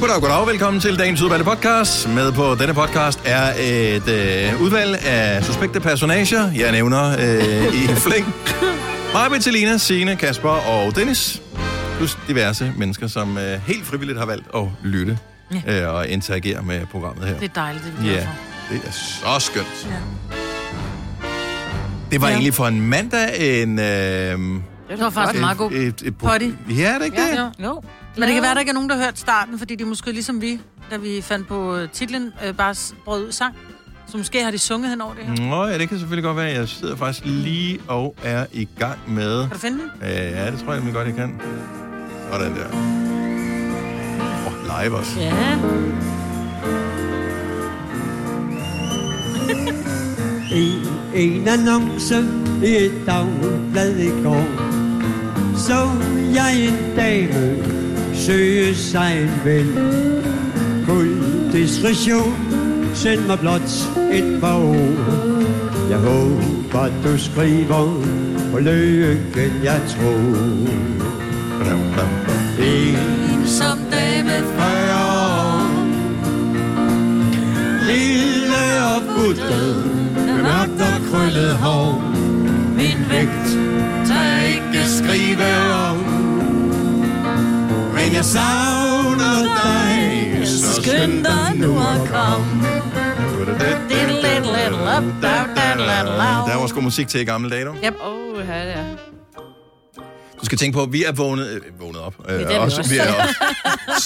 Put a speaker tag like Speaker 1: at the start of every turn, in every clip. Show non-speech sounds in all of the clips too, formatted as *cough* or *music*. Speaker 1: Goddag, goddag. Velkommen til dagens udvalgte podcast. Med på denne podcast er et øh, udvalg af suspekte personager. Jeg nævner øh, i flæng. Marbe, Selina, Signe, Kasper og Dennis. Plus diverse mennesker, som øh, helt frivilligt har valgt at lytte øh, og interagere med programmet her.
Speaker 2: Det er dejligt, det er vi glade
Speaker 1: Ja,
Speaker 2: for.
Speaker 1: det er så skønt. Ja. Det var ja. egentlig for en mandag en... Øh,
Speaker 2: Det var faktisk en meget god.
Speaker 1: et, et,
Speaker 2: potty.
Speaker 1: Ja, er det ikke det?
Speaker 2: Ja, jo.
Speaker 3: No.
Speaker 2: Men det kan være, der ikke er nogen, der har hørt starten, fordi de måske ligesom vi, da vi fandt på øh, titlen, øh, bare s- brød ud sang. Så måske har de sunget hen over det her. Mm.
Speaker 1: Nå, ja, det kan selvfølgelig godt være. Jeg sidder faktisk lige og er i gang med...
Speaker 2: Kan du finde den?
Speaker 1: Øh, ja, det tror jeg nemlig godt, jeg kan. Sådan der. Oh, live også.
Speaker 3: Ja.
Speaker 4: I en annonce i et dagblad i går Så jeg en dame søge sig en ven Fuld diskretition, send mig blot et par ord Jeg håber du skriver på lykken jeg tror
Speaker 1: Badam, badam, badam.
Speaker 4: En
Speaker 2: Som dame
Speaker 4: fyrre Lille og buttet med mørkt og krøllet hår
Speaker 2: min
Speaker 4: vægt
Speaker 2: tager
Speaker 4: ikke skrive om Men jeg savner dig Så skynd dig nu at komme
Speaker 1: Øh, Der var sgu musik til i gamle dage, du.
Speaker 2: Yep.
Speaker 3: Åh, her det er.
Speaker 1: Du skal tænke på, at vi er vågnet, øh, vågnet op. Øh,
Speaker 3: det er vi også.
Speaker 1: Vi er også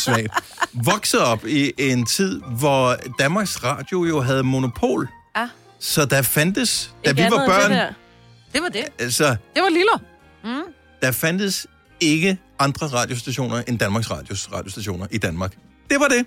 Speaker 1: svagt. Vokset op i en tid, hvor Danmarks Radio jo havde monopol.
Speaker 3: Ah.
Speaker 1: Så der fandtes, da
Speaker 3: Ikke
Speaker 1: vi var
Speaker 3: andet end det
Speaker 1: børn,
Speaker 3: der. Mm.
Speaker 2: Det var det.
Speaker 1: altså,
Speaker 2: Det var Lilo.
Speaker 1: der fandtes ikke andre radiostationer end Danmarks Radios radiostationer i Danmark. Det var det.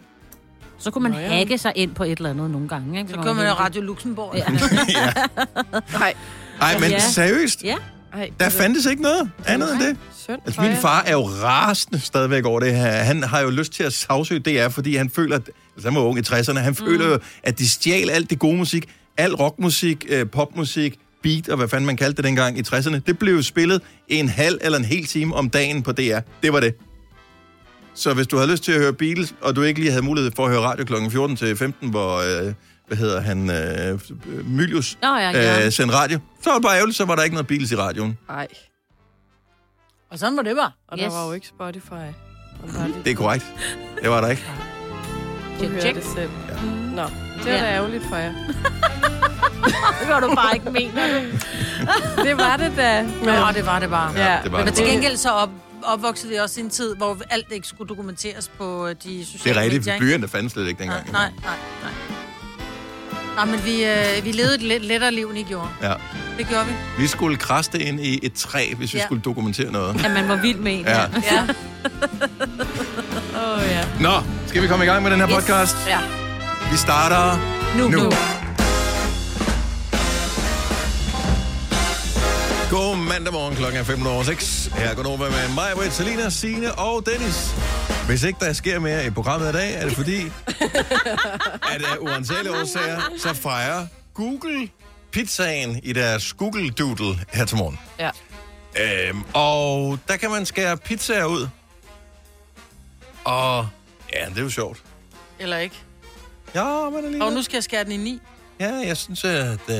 Speaker 5: Så kunne man Nå, ja. hacke sig ind på et eller andet nogle gange. Ikke?
Speaker 2: Så kører man jo Radio
Speaker 5: *laughs*
Speaker 2: Luxembourg. Ja.
Speaker 1: ja.
Speaker 3: Nej.
Speaker 1: Ej, men
Speaker 5: Ja.
Speaker 1: seriøst,
Speaker 5: Ja.
Speaker 3: Ej,
Speaker 1: der
Speaker 6: Altså,
Speaker 1: fandtes ikke noget andet end det.
Speaker 3: Sødt.
Speaker 1: Altså, min far er jo rasende stadigvæk over det her. Han har jo lyst til at sagsøge DR, fordi han føler, at, altså han var ung i 60'erne, han mm. føler jo, at de stjal alt det gode musik, al rockmusik, øh, popmusik, beat og hvad fanden man kaldte det dengang i 60'erne. Det blev jo spillet en halv eller en hel time om dagen på DR. Det var det. Så hvis du havde lyst til at høre Beatles, og du ikke lige havde mulighed for at høre radio kl. 14 til 15, hvor, øh, hvad hedder han, øh, Mylius
Speaker 5: Nå ja, ja.
Speaker 1: øh, sendte radio, så var det bare ærgerligt, så var der ikke noget Beatles i radioen.
Speaker 3: Nej.
Speaker 2: Og sådan var det bare.
Speaker 3: Og yes. der
Speaker 5: Yes.
Speaker 3: var jo ikke Spotify. Og bare lige
Speaker 1: Det er korrekt. Det var der ikke.
Speaker 3: kunne høre *laughs*
Speaker 5: Check.
Speaker 3: det selv.
Speaker 1: Ja.
Speaker 3: Nå, det var
Speaker 5: Ja.
Speaker 3: da ærgerligt for jer.
Speaker 5: Det var du bare ikke
Speaker 2: *laughs*
Speaker 5: mener.
Speaker 3: Det var det da.
Speaker 2: Ja, det var det bare. Ja.
Speaker 1: det var
Speaker 2: Men
Speaker 1: det
Speaker 2: til gengæld så op, opvoksede vi også i en tid, hvor alt ikke skulle dokumenteres på øh, de
Speaker 1: Det
Speaker 2: sociale
Speaker 1: er rigtigt,
Speaker 2: medier. ikke?
Speaker 1: byen der fandt slet ikke
Speaker 2: Nej,
Speaker 1: dengang.
Speaker 2: nej, Ah, nej. nej. Nej, men vi, øh, vi levede et let, lettere liv, end I gjorde.
Speaker 1: Ja.
Speaker 2: Det gjorde vi.
Speaker 1: Vi skulle kraste ind i et træ, hvis vi
Speaker 2: Ja.
Speaker 1: skulle dokumentere noget.
Speaker 5: At man var vild med en.
Speaker 1: Ja.
Speaker 5: *laughs*
Speaker 2: Ja.
Speaker 3: Åh, ja.
Speaker 1: Nå, skal vi komme i gang med den her podcast?
Speaker 2: ja.
Speaker 1: Vi starter nu. nu. God mandag morgen, klokken er 5.06. Her går Nova med mig, Britt, Selina, Signe og Dennis. Hvis ikke der sker mere i programmet i dag, er det fordi, at af uansagelige årsager, så fejrer Google pizzaen i deres Google Doodle her til morgen.
Speaker 3: Ja.
Speaker 1: Øhm, og der kan man skære pizzaer ud. Og ja, det er jo sjovt.
Speaker 2: Eller ikke.
Speaker 1: Ja, men alligevel.
Speaker 2: Og nu skal jeg skære den i ni.
Speaker 1: Ja, jeg synes, at øh,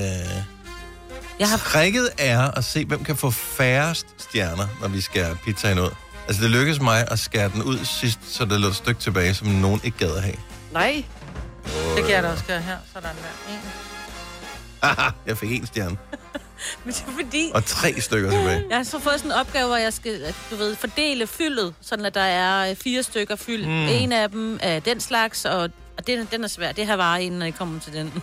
Speaker 5: Jeg har
Speaker 1: tricket er at se, hvem kan få færrest stjerner, når vi skærer pizzaen ud. Altså, det lykkedes mig at skære den ud sidst, så der lå et stykke tilbage, som nogen ikke gad at have.
Speaker 3: Nej.
Speaker 2: Det kan jeg da også gøre her. Sådan der. En.
Speaker 1: Haha, jeg fik en stjerne.
Speaker 5: Men det er fordi,
Speaker 1: Og tre stykker tilbage.
Speaker 5: jeg har så fået sådan en opgave, hvor jeg skal at du ved, fordele fyldet, sådan at der er øh, fire stykker fyld. Mm.
Speaker 1: Hmm.
Speaker 5: En af dem er den slags, og, og den, den er svær. Det her var en, når jeg kommer til den.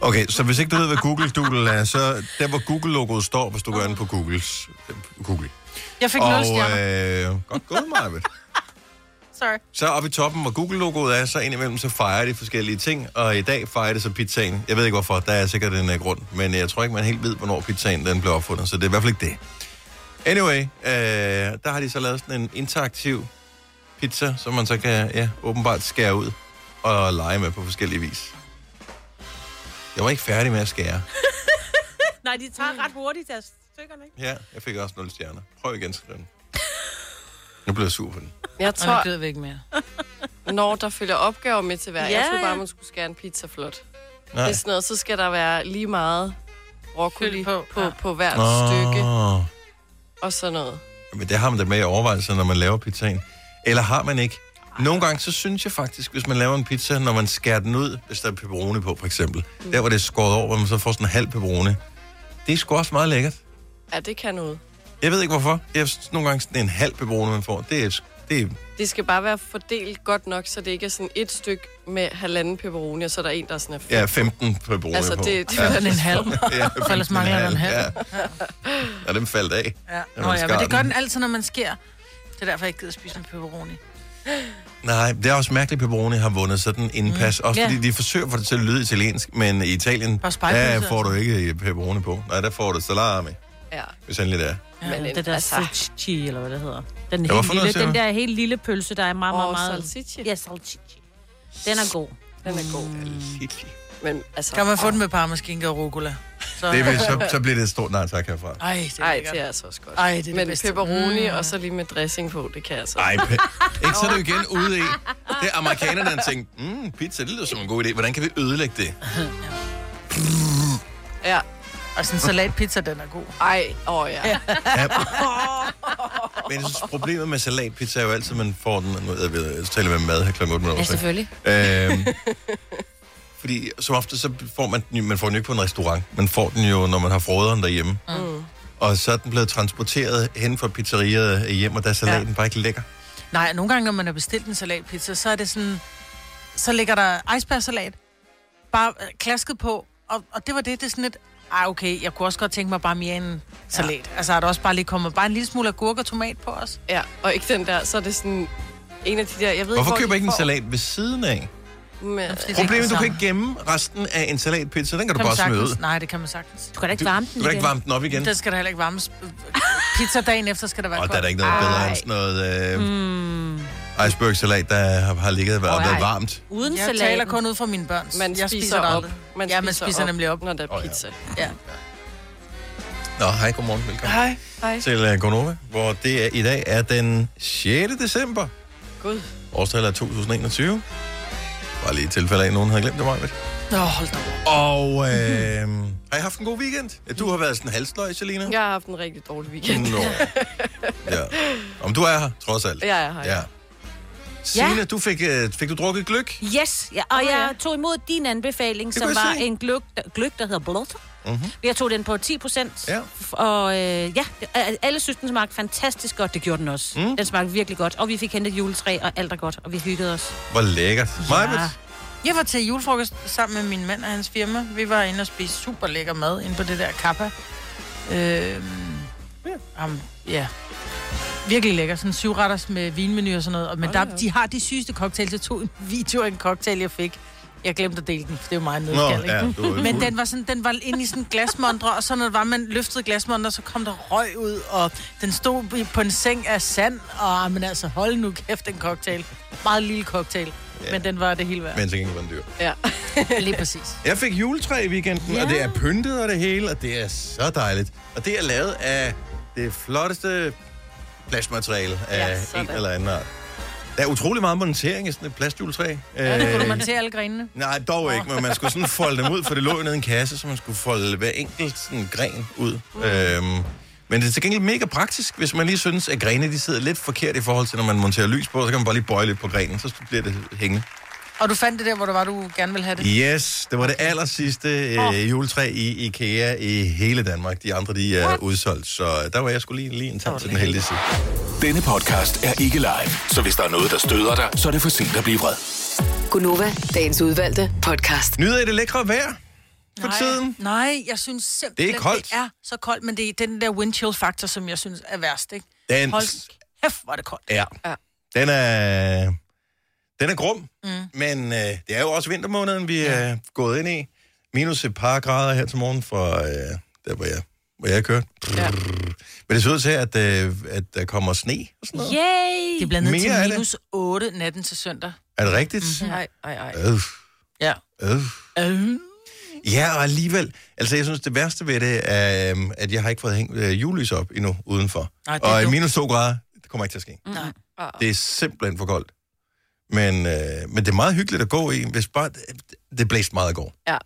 Speaker 1: Okay, så hvis ikke du ved, hvad Google Doodle er, så der, hvor Google-logoet står, hvis du går ind på Googles, Google.
Speaker 2: Jeg fik nul
Speaker 1: Og
Speaker 2: stjerner.
Speaker 1: øh, godt gået, Marvitt.
Speaker 2: Sorry.
Speaker 1: Så oppe i toppen, hvor Google-logoet er, så indimellem så fejrer de forskellige ting, og i dag fejrer det så pizzaen. Jeg ved ikke hvorfor, der er sikkert en uh, grund, men jeg tror ikke, man helt ved, hvornår pizzaen den blev opfundet, så det er i hvert fald ikke det. Anyway, øh, der har de så lavet sådan en interaktiv pizza, som man så kan ja, åbenbart skære ud og lege med på forskellige vis. Jeg var ikke færdig med at skære.
Speaker 5: Nej, de tager ret hurtigt altså. deres stykkerne, ikke?
Speaker 1: Ja, jeg fik også 0 stjerner. Prøv igen, skriv den. Nu blev jeg sur på den.
Speaker 3: Jeg
Speaker 2: Og nu
Speaker 3: tror,
Speaker 2: gider vi ikke mere.
Speaker 6: *laughs* Når der følger opgaver med til hver. Ja,
Speaker 5: Ja,
Speaker 6: jeg troede bare,
Speaker 5: ja.
Speaker 6: man skulle skære en pizza flot.
Speaker 1: Nej.
Speaker 6: Det er sådan noget, så skal der være lige meget broccoli
Speaker 2: Fyld
Speaker 6: på,
Speaker 2: på,
Speaker 6: på, ja.
Speaker 2: ja.
Speaker 6: på hvert stykke
Speaker 1: Åh,
Speaker 6: og sådan noget.
Speaker 1: Men det har man da med i overvejelser, når man laver pizzaen. Eller har man ikke? Nogle gange, så synes jeg faktisk, hvis man laver en pizza, når man skærer den ud, hvis der er pepperoni på, for eksempel. Der, hvor det er skåret over, hvor man så får sådan en halv pepperoni. Det er sgu også meget lækkert.
Speaker 6: Ja, det kan noget.
Speaker 1: Jeg ved ikke hvorfor. Jeg synes nogle gange, sådan en halv pepperoni, man får. Det er, det er
Speaker 6: Det skal bare være fordelt godt nok, så det ikke er sådan et stykke med halvanden pepperoni, og så er der en, der sådan er fem.
Speaker 1: ja, 15 pepperoni
Speaker 6: Altså,
Speaker 1: på.
Speaker 6: det- det
Speaker 1: ja.
Speaker 6: vil
Speaker 2: Den er en halv.
Speaker 1: *laughs* Ja,
Speaker 2: For ellers mangler der en halv.
Speaker 1: Ja. Og den faldt af.
Speaker 2: Ja.
Speaker 1: Ja,
Speaker 2: Nå
Speaker 1: man
Speaker 2: ja,
Speaker 1: skar
Speaker 2: men det gør
Speaker 1: den.
Speaker 2: den altid, når man sker. Det er derfor, jeg ikke gider spise en pepperoni.
Speaker 1: Nej, det er også mærkeligt, at pepperoni har vundet sådan en pas. Også
Speaker 2: Mm. Ja.
Speaker 1: fordi de forsøger at få det til at lyde italiensk, men i Italien,
Speaker 2: Og spejlpølse,
Speaker 1: der
Speaker 2: altså.
Speaker 1: får du ikke pepperoni på. Nej, der får du salami,
Speaker 6: Ja.
Speaker 1: hvis endelig det er.
Speaker 6: Ja, Men
Speaker 5: det der
Speaker 6: altså-
Speaker 5: altså... salchichi, eller hvad det hedder. Den,
Speaker 1: Ja, hvorfor
Speaker 5: helt lille,
Speaker 1: noget, siger
Speaker 5: den
Speaker 1: du?
Speaker 5: der helt lille pølse, der er meget,
Speaker 6: Og
Speaker 5: meget, meget...
Speaker 6: salsichi.
Speaker 5: Ja, salchichi. Den er god.
Speaker 6: Den er god.
Speaker 1: Mm.
Speaker 6: Men altså...
Speaker 2: Kan man få den med parmaskinke og rucola? Så...
Speaker 1: Det vil, så, så bliver det et stort nej tak herfra.
Speaker 2: Ej, det er
Speaker 6: Ej,
Speaker 2: lækkert.
Speaker 6: det er altså også godt.
Speaker 2: Ej, det er det
Speaker 6: Men
Speaker 2: bedste. Mm.
Speaker 6: pepperoni og så lige med dressing på, det kan jeg altså.
Speaker 1: Ej, pe- ikke så er det jo igen ude i. Det er amerikanerne, der har tænkt, mm, pizza, det lyder som en god idé. Hvordan kan vi ødelægge det?
Speaker 6: Ja.
Speaker 2: Og sådan en salatpizza, den er god.
Speaker 6: Ej, åh oh, ja.
Speaker 1: Ja.
Speaker 2: *laughs*
Speaker 1: Men jeg synes, problemet med salatpizza er jo altid, at man får den... Nu jeg ved, jeg taler med mad her kl. 8 minutter.
Speaker 5: Ja, selvfølgelig.
Speaker 1: Øhm, *laughs* fordi som ofte, så får man den, jo- man får den jo ikke på en restaurant. Man får den jo, når man har froderen derhjemme. Mm. Og så er den blevet transporteret hen fra pizzeriet hjem, og der er salaten ja. bare ikke lækker.
Speaker 2: Nej, nogle gange, når man har bestilt en salatpizza, så er det sådan... Så ligger der icebergsalat, bare øh, klasket på, og, og det var det, det er sådan lidt... Ej, okay, jeg kunne også godt tænke mig bare mere en salat. Ja. Altså, er der også bare lige kommet bare en lille smule agurk og tomat på os?
Speaker 6: ja. Og ikke den der, så er det sådan en af de der... Jeg ved
Speaker 1: Hvorfor
Speaker 6: hvor
Speaker 1: køber
Speaker 6: de
Speaker 1: ikke en
Speaker 6: får
Speaker 1: salat ved siden af?
Speaker 6: Med,
Speaker 2: Fordi det er ikke
Speaker 1: Problemet
Speaker 2: det
Speaker 1: er, du kan
Speaker 2: samme.
Speaker 1: ikke gemme resten af en salatpizza. Den kan,
Speaker 2: Kan
Speaker 1: du
Speaker 2: man
Speaker 1: bare smide ud.
Speaker 2: sagtens? Nej, det kan man sagtens.
Speaker 5: Du kan da ikke
Speaker 1: Du,
Speaker 5: varme
Speaker 1: du
Speaker 5: den
Speaker 1: kan ikke varme den op igen.
Speaker 2: Den skal der heller ikke varmes. Pizza dagen efter skal der være
Speaker 1: Og der
Speaker 2: kold.
Speaker 1: er der ikke noget bedre end sådan noget... Øh, Iceberg-salat, der har- har ligget og været,
Speaker 5: Åh,
Speaker 1: været
Speaker 5: ej.
Speaker 1: varmt.
Speaker 5: Uden
Speaker 2: Jeg
Speaker 5: salaten.
Speaker 2: taler kun ud fra mine børn.
Speaker 6: Man
Speaker 2: jeg
Speaker 6: spiser
Speaker 2: det
Speaker 6: op.
Speaker 2: aldrig.
Speaker 6: Man
Speaker 2: ja, man
Speaker 6: spiser
Speaker 2: spiser
Speaker 6: op.
Speaker 2: nemlig op.
Speaker 6: når der
Speaker 1: Åh,
Speaker 6: er
Speaker 1: ja.
Speaker 6: pizza.
Speaker 2: Ja.
Speaker 1: Nå, hej, godmorgen, velkommen hej.
Speaker 6: Hej.
Speaker 1: til uh, Gonova, hvor det er, i dag er den 6. december.
Speaker 6: Gud.
Speaker 1: Årstallet er 2021. Bare lige i tilfælde af, at nogen havde glemt det, Marvitt.
Speaker 2: Nå, hold da op.
Speaker 1: Og øh, har I haft en god weekend? Ja, Du har været sådan halvsløj, Selina.
Speaker 6: Jeg har haft en rigtig dårlig weekend. *laughs*
Speaker 1: Nå. Ja. Om du er her, trods alt.
Speaker 6: Ja, jeg har.
Speaker 1: Ja. Signe, du fik, øh, fik du drukket gløk?
Speaker 5: Yes, ja, og
Speaker 6: Åh, ja.
Speaker 5: jeg tog imod din anbefaling,
Speaker 1: Det
Speaker 5: som
Speaker 1: kunne jeg
Speaker 5: var
Speaker 1: se.
Speaker 5: en gløk, der- gløk, der hedder Blotter.
Speaker 1: Mhm.
Speaker 5: Mm-hmm. Jeg tog den på 10 procent,
Speaker 1: Ja.
Speaker 5: og øh, ja, a- alle synes, den smagte fantastisk godt. Det gjorde den også.
Speaker 1: Mm.
Speaker 5: Mm. Den smagte virkelig godt, og vi fik hentet juletræ, og alt er godt, og vi hyggede os.
Speaker 1: Hvor lækkert. Ja. Marvitt?
Speaker 2: Jeg var til julefrokost sammen med min mand og hans firma. Vi var inde og spise super lækker mad inde på det der kappa. Øhm, ja. Um, ja. Virkelig lækker. Sådan syvretters med vinmenu og sådan noget. Og- Men der, de har de sygeste cocktails. Jeg tog en video af en cocktail, jeg fik. Jeg glemte at dele den, for det er jo meget
Speaker 1: Nå,
Speaker 2: nødskal,
Speaker 1: ja, du er
Speaker 2: Men den var, sådan, den var inde i sådan en glasmontre, og så når det var, man løftede glasmontre, så kom der røg ud, og den stod i- på en seng af sand, og ah, men altså, hold nu kæft, den cocktail. Meget lille cocktail,
Speaker 1: Ja.
Speaker 2: ja. men den var det hele værd.
Speaker 1: Men til gengæld var den dyr.
Speaker 6: Ja.
Speaker 2: *laughs* Lige præcis.
Speaker 1: Jeg fik juletræ i weekenden, ja. og det er pyntet og det hele, og det er så dejligt. Og det er lavet af det flotteste plastmateriale af
Speaker 6: Ja,
Speaker 1: ja,
Speaker 6: sådan.
Speaker 1: en eller anden art. Der er utrolig meget montering i sådan et plastjuletræ. Ja,
Speaker 2: Kunne du montere alle grenene?
Speaker 1: Nej, dog ikke, men man skulle sådan folde dem ud, for det lå jo nede i en kasse, så man skulle folde hver enkelt sådan gren ud. Mm. Øhm, men det er til gengæld mega praktisk, hvis man lige synes, at grene de sidder lidt forkert i forhold til, når man monterer lys på, så kan man bare lige bøje lidt på grenen, så bliver det hængende.
Speaker 2: Og du fandt det der, hvor du var, du gerne ville have det?
Speaker 1: Yes, det var det aller sidste øh, juletræ i IKEA i hele Danmark. De andre, de er udsolgt, så der var jeg skulle lige, lige en tak til den heldige side.
Speaker 7: Denne podcast er ikke live, så hvis der er noget, der støder dig, så er det for sent at blive vred.
Speaker 8: Gunova, dagens udvalgte podcast.
Speaker 1: Nyder I det lækre vejr for
Speaker 2: Nej.
Speaker 1: tiden?
Speaker 2: Nej, jeg synes simpelthen,
Speaker 1: Det er koldt.
Speaker 2: det er så koldt, men det er den der wind chill faktor, som jeg synes er værst, ikke?
Speaker 1: Den,
Speaker 2: Hold kæft, hvor er det koldt.
Speaker 1: ja.
Speaker 6: Ja.
Speaker 1: den er, den er grum, mm. men øh, det er jo også vintermåneden, vi er gået ind i. Minus et par grader her til morgen fra øh, der, hvor jeg, hvor jeg kører.
Speaker 6: Ja.
Speaker 1: Men det ser ud til, at, øh, at der kommer sne og sådan noget. Yeah.
Speaker 5: Yay!
Speaker 2: Det bliver ned
Speaker 1: Mere af
Speaker 2: til
Speaker 1: det.
Speaker 2: minus 8 natten til søndag. Mhm.
Speaker 1: Er det rigtigt?
Speaker 6: Ej, ej, ej.
Speaker 1: Mm. Øh,
Speaker 2: Ja.
Speaker 1: øh.
Speaker 2: Øh.
Speaker 1: Ja, og alligevel. Altså, jeg synes, det værste ved det er, øhm, at jeg har ikke fået hængt øh, julelys op endnu udenfor.
Speaker 2: Nej, det er
Speaker 1: og i
Speaker 2: dumt.
Speaker 5: Ah.
Speaker 1: minus 2 grader, det kommer ikke til at ske.
Speaker 2: Nej.
Speaker 1: Det er simpelthen for koldt. Men, øh, men det er meget hyggeligt at gå i, hvis bare... Det blæste meget i går.
Speaker 6: Ja.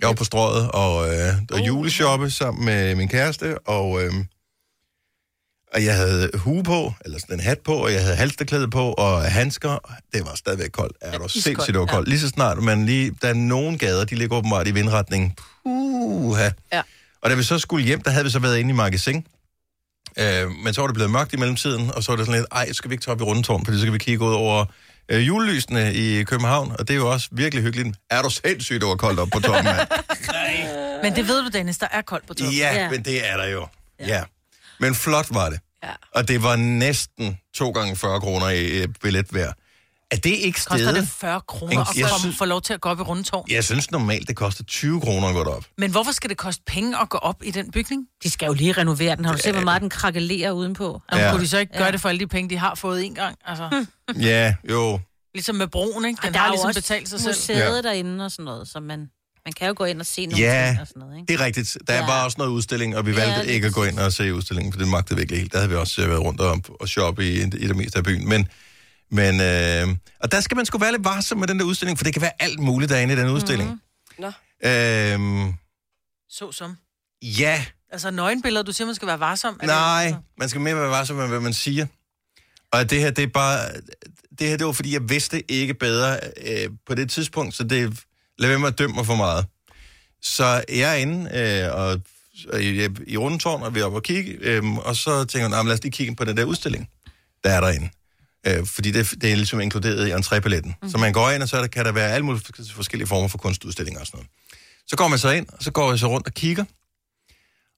Speaker 1: Jeg var på strøget og, øh, og juleshoppe sammen med min kæreste, og, øh, og jeg havde hue på, eller sådan en hat på, og jeg havde halsteklæde på, og handsker. og Det var stadigvæk koldt. Er du sindssygt, det var koldt. Lige så snart, man lige, der er nogle gader, de ligger åbenbart i vindretning. Puha.
Speaker 6: Ja.
Speaker 1: Og da vi så skulle hjem, der havde vi så været inde i magasin. Øh, men så var det blevet mørkt i mellemtiden, og så var det sådan lidt, ej, skal vi ikke tage op i rundetårn, fordi så kan vi kigge ud over øh, julelysene i København, og det er jo også virkelig hyggeligt. Er du sindssygt, det var koldt op på toppen,
Speaker 2: *laughs*
Speaker 1: mand?
Speaker 2: Men det ved du, Dennis, der er koldt på toppen.
Speaker 1: Ja,
Speaker 5: Ja.
Speaker 1: men det er der jo. Ja. ja. Men flot var det. Ja. Og det var næsten 2 gange 40 kroner i øh, billet hver. Er det ikke
Speaker 2: Koster det
Speaker 1: stedet?
Speaker 2: 40 kroner
Speaker 1: Jeg
Speaker 2: at komme,
Speaker 1: synes-
Speaker 2: få lov til at gå op i rundetårn?
Speaker 1: Jeg synes normalt, det koster 20 kroner at gå derop.
Speaker 2: Men hvorfor skal det koste penge at gå op i den bygning?
Speaker 5: De skal jo lige renovere den. Har du set, hvor meget den krakelerer udenpå?
Speaker 2: Altså,
Speaker 1: Ja.
Speaker 2: ja. Kunne de så ikke gøre det for alle de penge, de har fået en gang? Altså,
Speaker 1: Ja, jo.
Speaker 2: ligesom med broen, ikke? Den
Speaker 5: Mm. Der er
Speaker 2: har
Speaker 5: jo
Speaker 2: ligesom
Speaker 5: også
Speaker 2: betalt sig selv.
Speaker 5: museet
Speaker 1: Ja.
Speaker 5: ja. derinde og sådan noget, så man, man kan jo gå ind og se nogle
Speaker 1: Ja.
Speaker 5: ting og sådan noget, ikke?
Speaker 1: Det er rigtigt. Der ja.
Speaker 5: Ja.
Speaker 1: var også noget udstilling, og vi
Speaker 5: Ja,
Speaker 1: valgte
Speaker 5: lige
Speaker 1: ikke at gå
Speaker 5: præcis.
Speaker 1: ind og se udstillingen, for det magtede vi ikke helt. Der havde vi også øh, været rundt og, og shoppe i, i det meste af byen. Men, men øh, og der skal man sgu være lidt varsom med den der udstilling, for det kan være alt muligt derinde i den udstilling.
Speaker 6: Nå.
Speaker 5: Mhm.
Speaker 1: Mm-hmm. Øh,
Speaker 2: Så som.
Speaker 1: ja,
Speaker 2: Altså nøgenbilleder, du siger, man skal være varsom. Er
Speaker 1: Nej,
Speaker 2: Det, Altså.
Speaker 1: man skal mere være varsom med, hvad man siger. Og det her, det er bare... Det her, det var, fordi jeg vidste ikke bedre øh, på det tidspunkt, så det... Lad være med at dømme mig for meget. Så jeg er inde øh, og, og i, i rundetårn, og vi er oppe og kigge, øh, og så tænker jeg, "Nå, men lad os lige kigge på den der udstilling, der er derinde. Øh, fordi det, det er ligesom inkluderet i entrépaletten.
Speaker 2: Mhm.
Speaker 1: Mm. Så man går ind, og så er der, kan der være alle mulige forskellige former for kunstudstillinger og sådan noget. Så går man så ind, og så går jeg så rundt og kigger,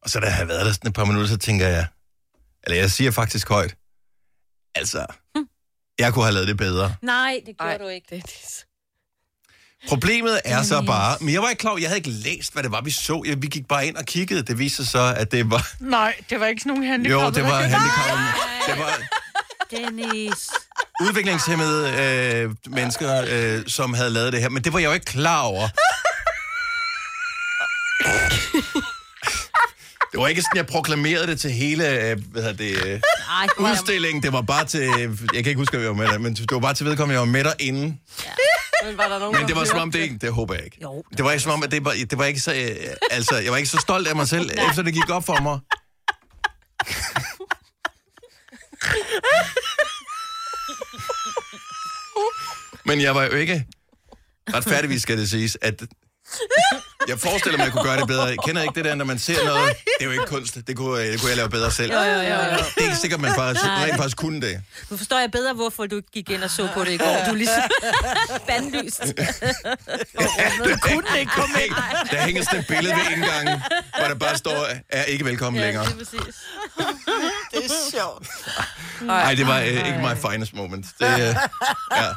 Speaker 1: og så da jeg har været der sådan et par minutter, så tænker jeg, eller jeg siger faktisk højt, altså, jeg kunne have lavet det bedre.
Speaker 5: Nej, det gjorde
Speaker 6: Ej,
Speaker 5: Ej. du ikke.
Speaker 6: Det, det,
Speaker 1: Problemet er så bare, men jeg var ikke klar, over- jeg havde ikke læst, hvad det var, vi så. Jeg- Vi gik bare ind og kiggede. Det viste sig så, at det var...
Speaker 2: Nej, det var ikke sådan nogen
Speaker 1: Jo,
Speaker 2: handicap.
Speaker 1: det var handicappede. Det var
Speaker 5: Dennis.
Speaker 1: udviklingshemmede øh, mennesker, øh, som havde lavet det her. Men det var jeg jo ikke klar over. Det var ikke sådan, jeg proklamerede det til hele, øh, hvad hedder det, øh,
Speaker 5: Ej, hvor er jeg-
Speaker 1: udstillingen. Det var bare til, jeg kan ikke huske, hvad jeg var med der, men det var bare til vedkommende, jeg var med derinde.
Speaker 6: men var der nogen,
Speaker 1: Men det var
Speaker 6: der
Speaker 1: som om,
Speaker 6: hørte
Speaker 1: det ikke... Det håber jeg ikke.
Speaker 5: Jo.
Speaker 1: Det var ikke som om, at det var, det var ikke så... Øh, altså, jeg var ikke så stolt af mig selv, efter det gik op for mig. Men jeg var jo ikke... Retfærdigvis skal det siges, at... Jeg forestiller mig, at jeg kunne gøre det bedre. Jeg kender ikke det der, når man ser noget. Det er jo ikke kunst. Det kunne, øh, det kunne jeg lave bedre selv. Det
Speaker 5: Jo, jo, jo.
Speaker 1: er ikke sikkert, at man faktisk, rent faktisk kunne det.
Speaker 5: Nu forstår jeg bedre, hvorfor du ikke gik ind og så på det i går. Du er lige
Speaker 1: *laughs*
Speaker 5: så bandlyst.
Speaker 1: Det kunne den ikke komme ind. Der hænger sådan et billede ved indgangen, hvor der bare står, er ikke velkommen længere.
Speaker 5: det er præcis.
Speaker 1: Nej, det var øh, ikke my finest moment. Det, øh, ja.
Speaker 6: Ja,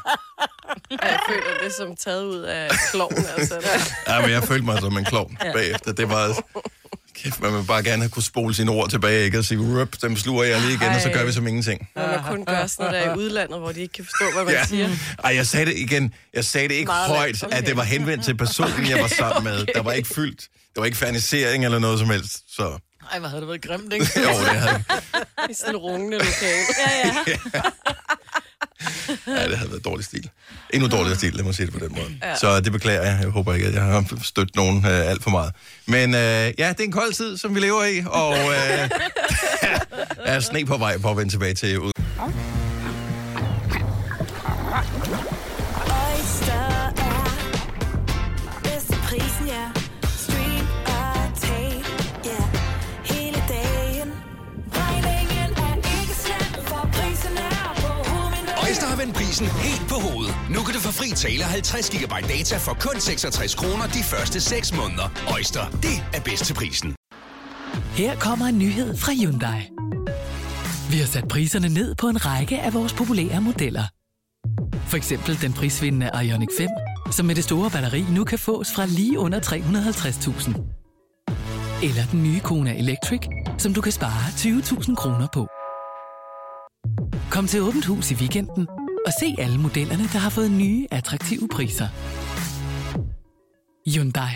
Speaker 6: Jeg føler det som taget ud af kloven, altså.
Speaker 1: ja, men jeg følte mig som en klovn bagefter. Det var... Kæft, man vil bare gerne have kunne spole sine ord tilbage, ikke? Og sige, rup, dem sluger jeg lige igen, og så gør vi som ingenting.
Speaker 6: Når man kun gør sådan noget der i udlandet, hvor de ikke kan forstå, hvad man
Speaker 1: Ja.
Speaker 6: siger.
Speaker 1: Ej, jeg sagde det igen. Jeg sagde det ikke
Speaker 6: Meget
Speaker 1: højt,
Speaker 6: lavt. Okay.
Speaker 1: at det var henvendt til personen, jeg var sammen med. Der var ikke fyldt. Der var ikke fernisering eller noget som helst. Så
Speaker 2: Ej, hvor havde det været grimt, ikke?
Speaker 1: jo, det havde,
Speaker 6: I sådan en rungende lokale.
Speaker 1: *laughs* ja, det havde været dårlig stil. Endnu dårligere stil, lad mig sige det på den måde. Ja. Så det beklager jeg. Jeg håber ikke, at jeg har stødt nogen øh, alt for meget. Men øh, ja, det er en kold tid, som vi lever i, og øh, der er sne på vej på at vende tilbage til ud.
Speaker 9: Oyster er bedst til prisen, ja. Stream og tag, ja. Hele dagen. Regningen er ikke slem, for prisen er på
Speaker 7: Øjster har vendt prisen helt på hovedet. Nu kan du få fri tale 50 GB data for kun 66 kroner de første 6 måneder. Øjster, det er bedst til prisen.
Speaker 10: Her kommer en nyhed fra Hyundai. Vi har sat priserne ned på en række af vores populære modeller. For eksempel den prisvindende Ioniq 5, som med det store batteri nu kan fås fra lige under 350.000. Eller den nye Kona Electric, som du kan spare 20.000 kroner på. Kom til Åbent Hus i weekenden og se alle modellerne, der har fået nye, attraktive priser. Hyundai.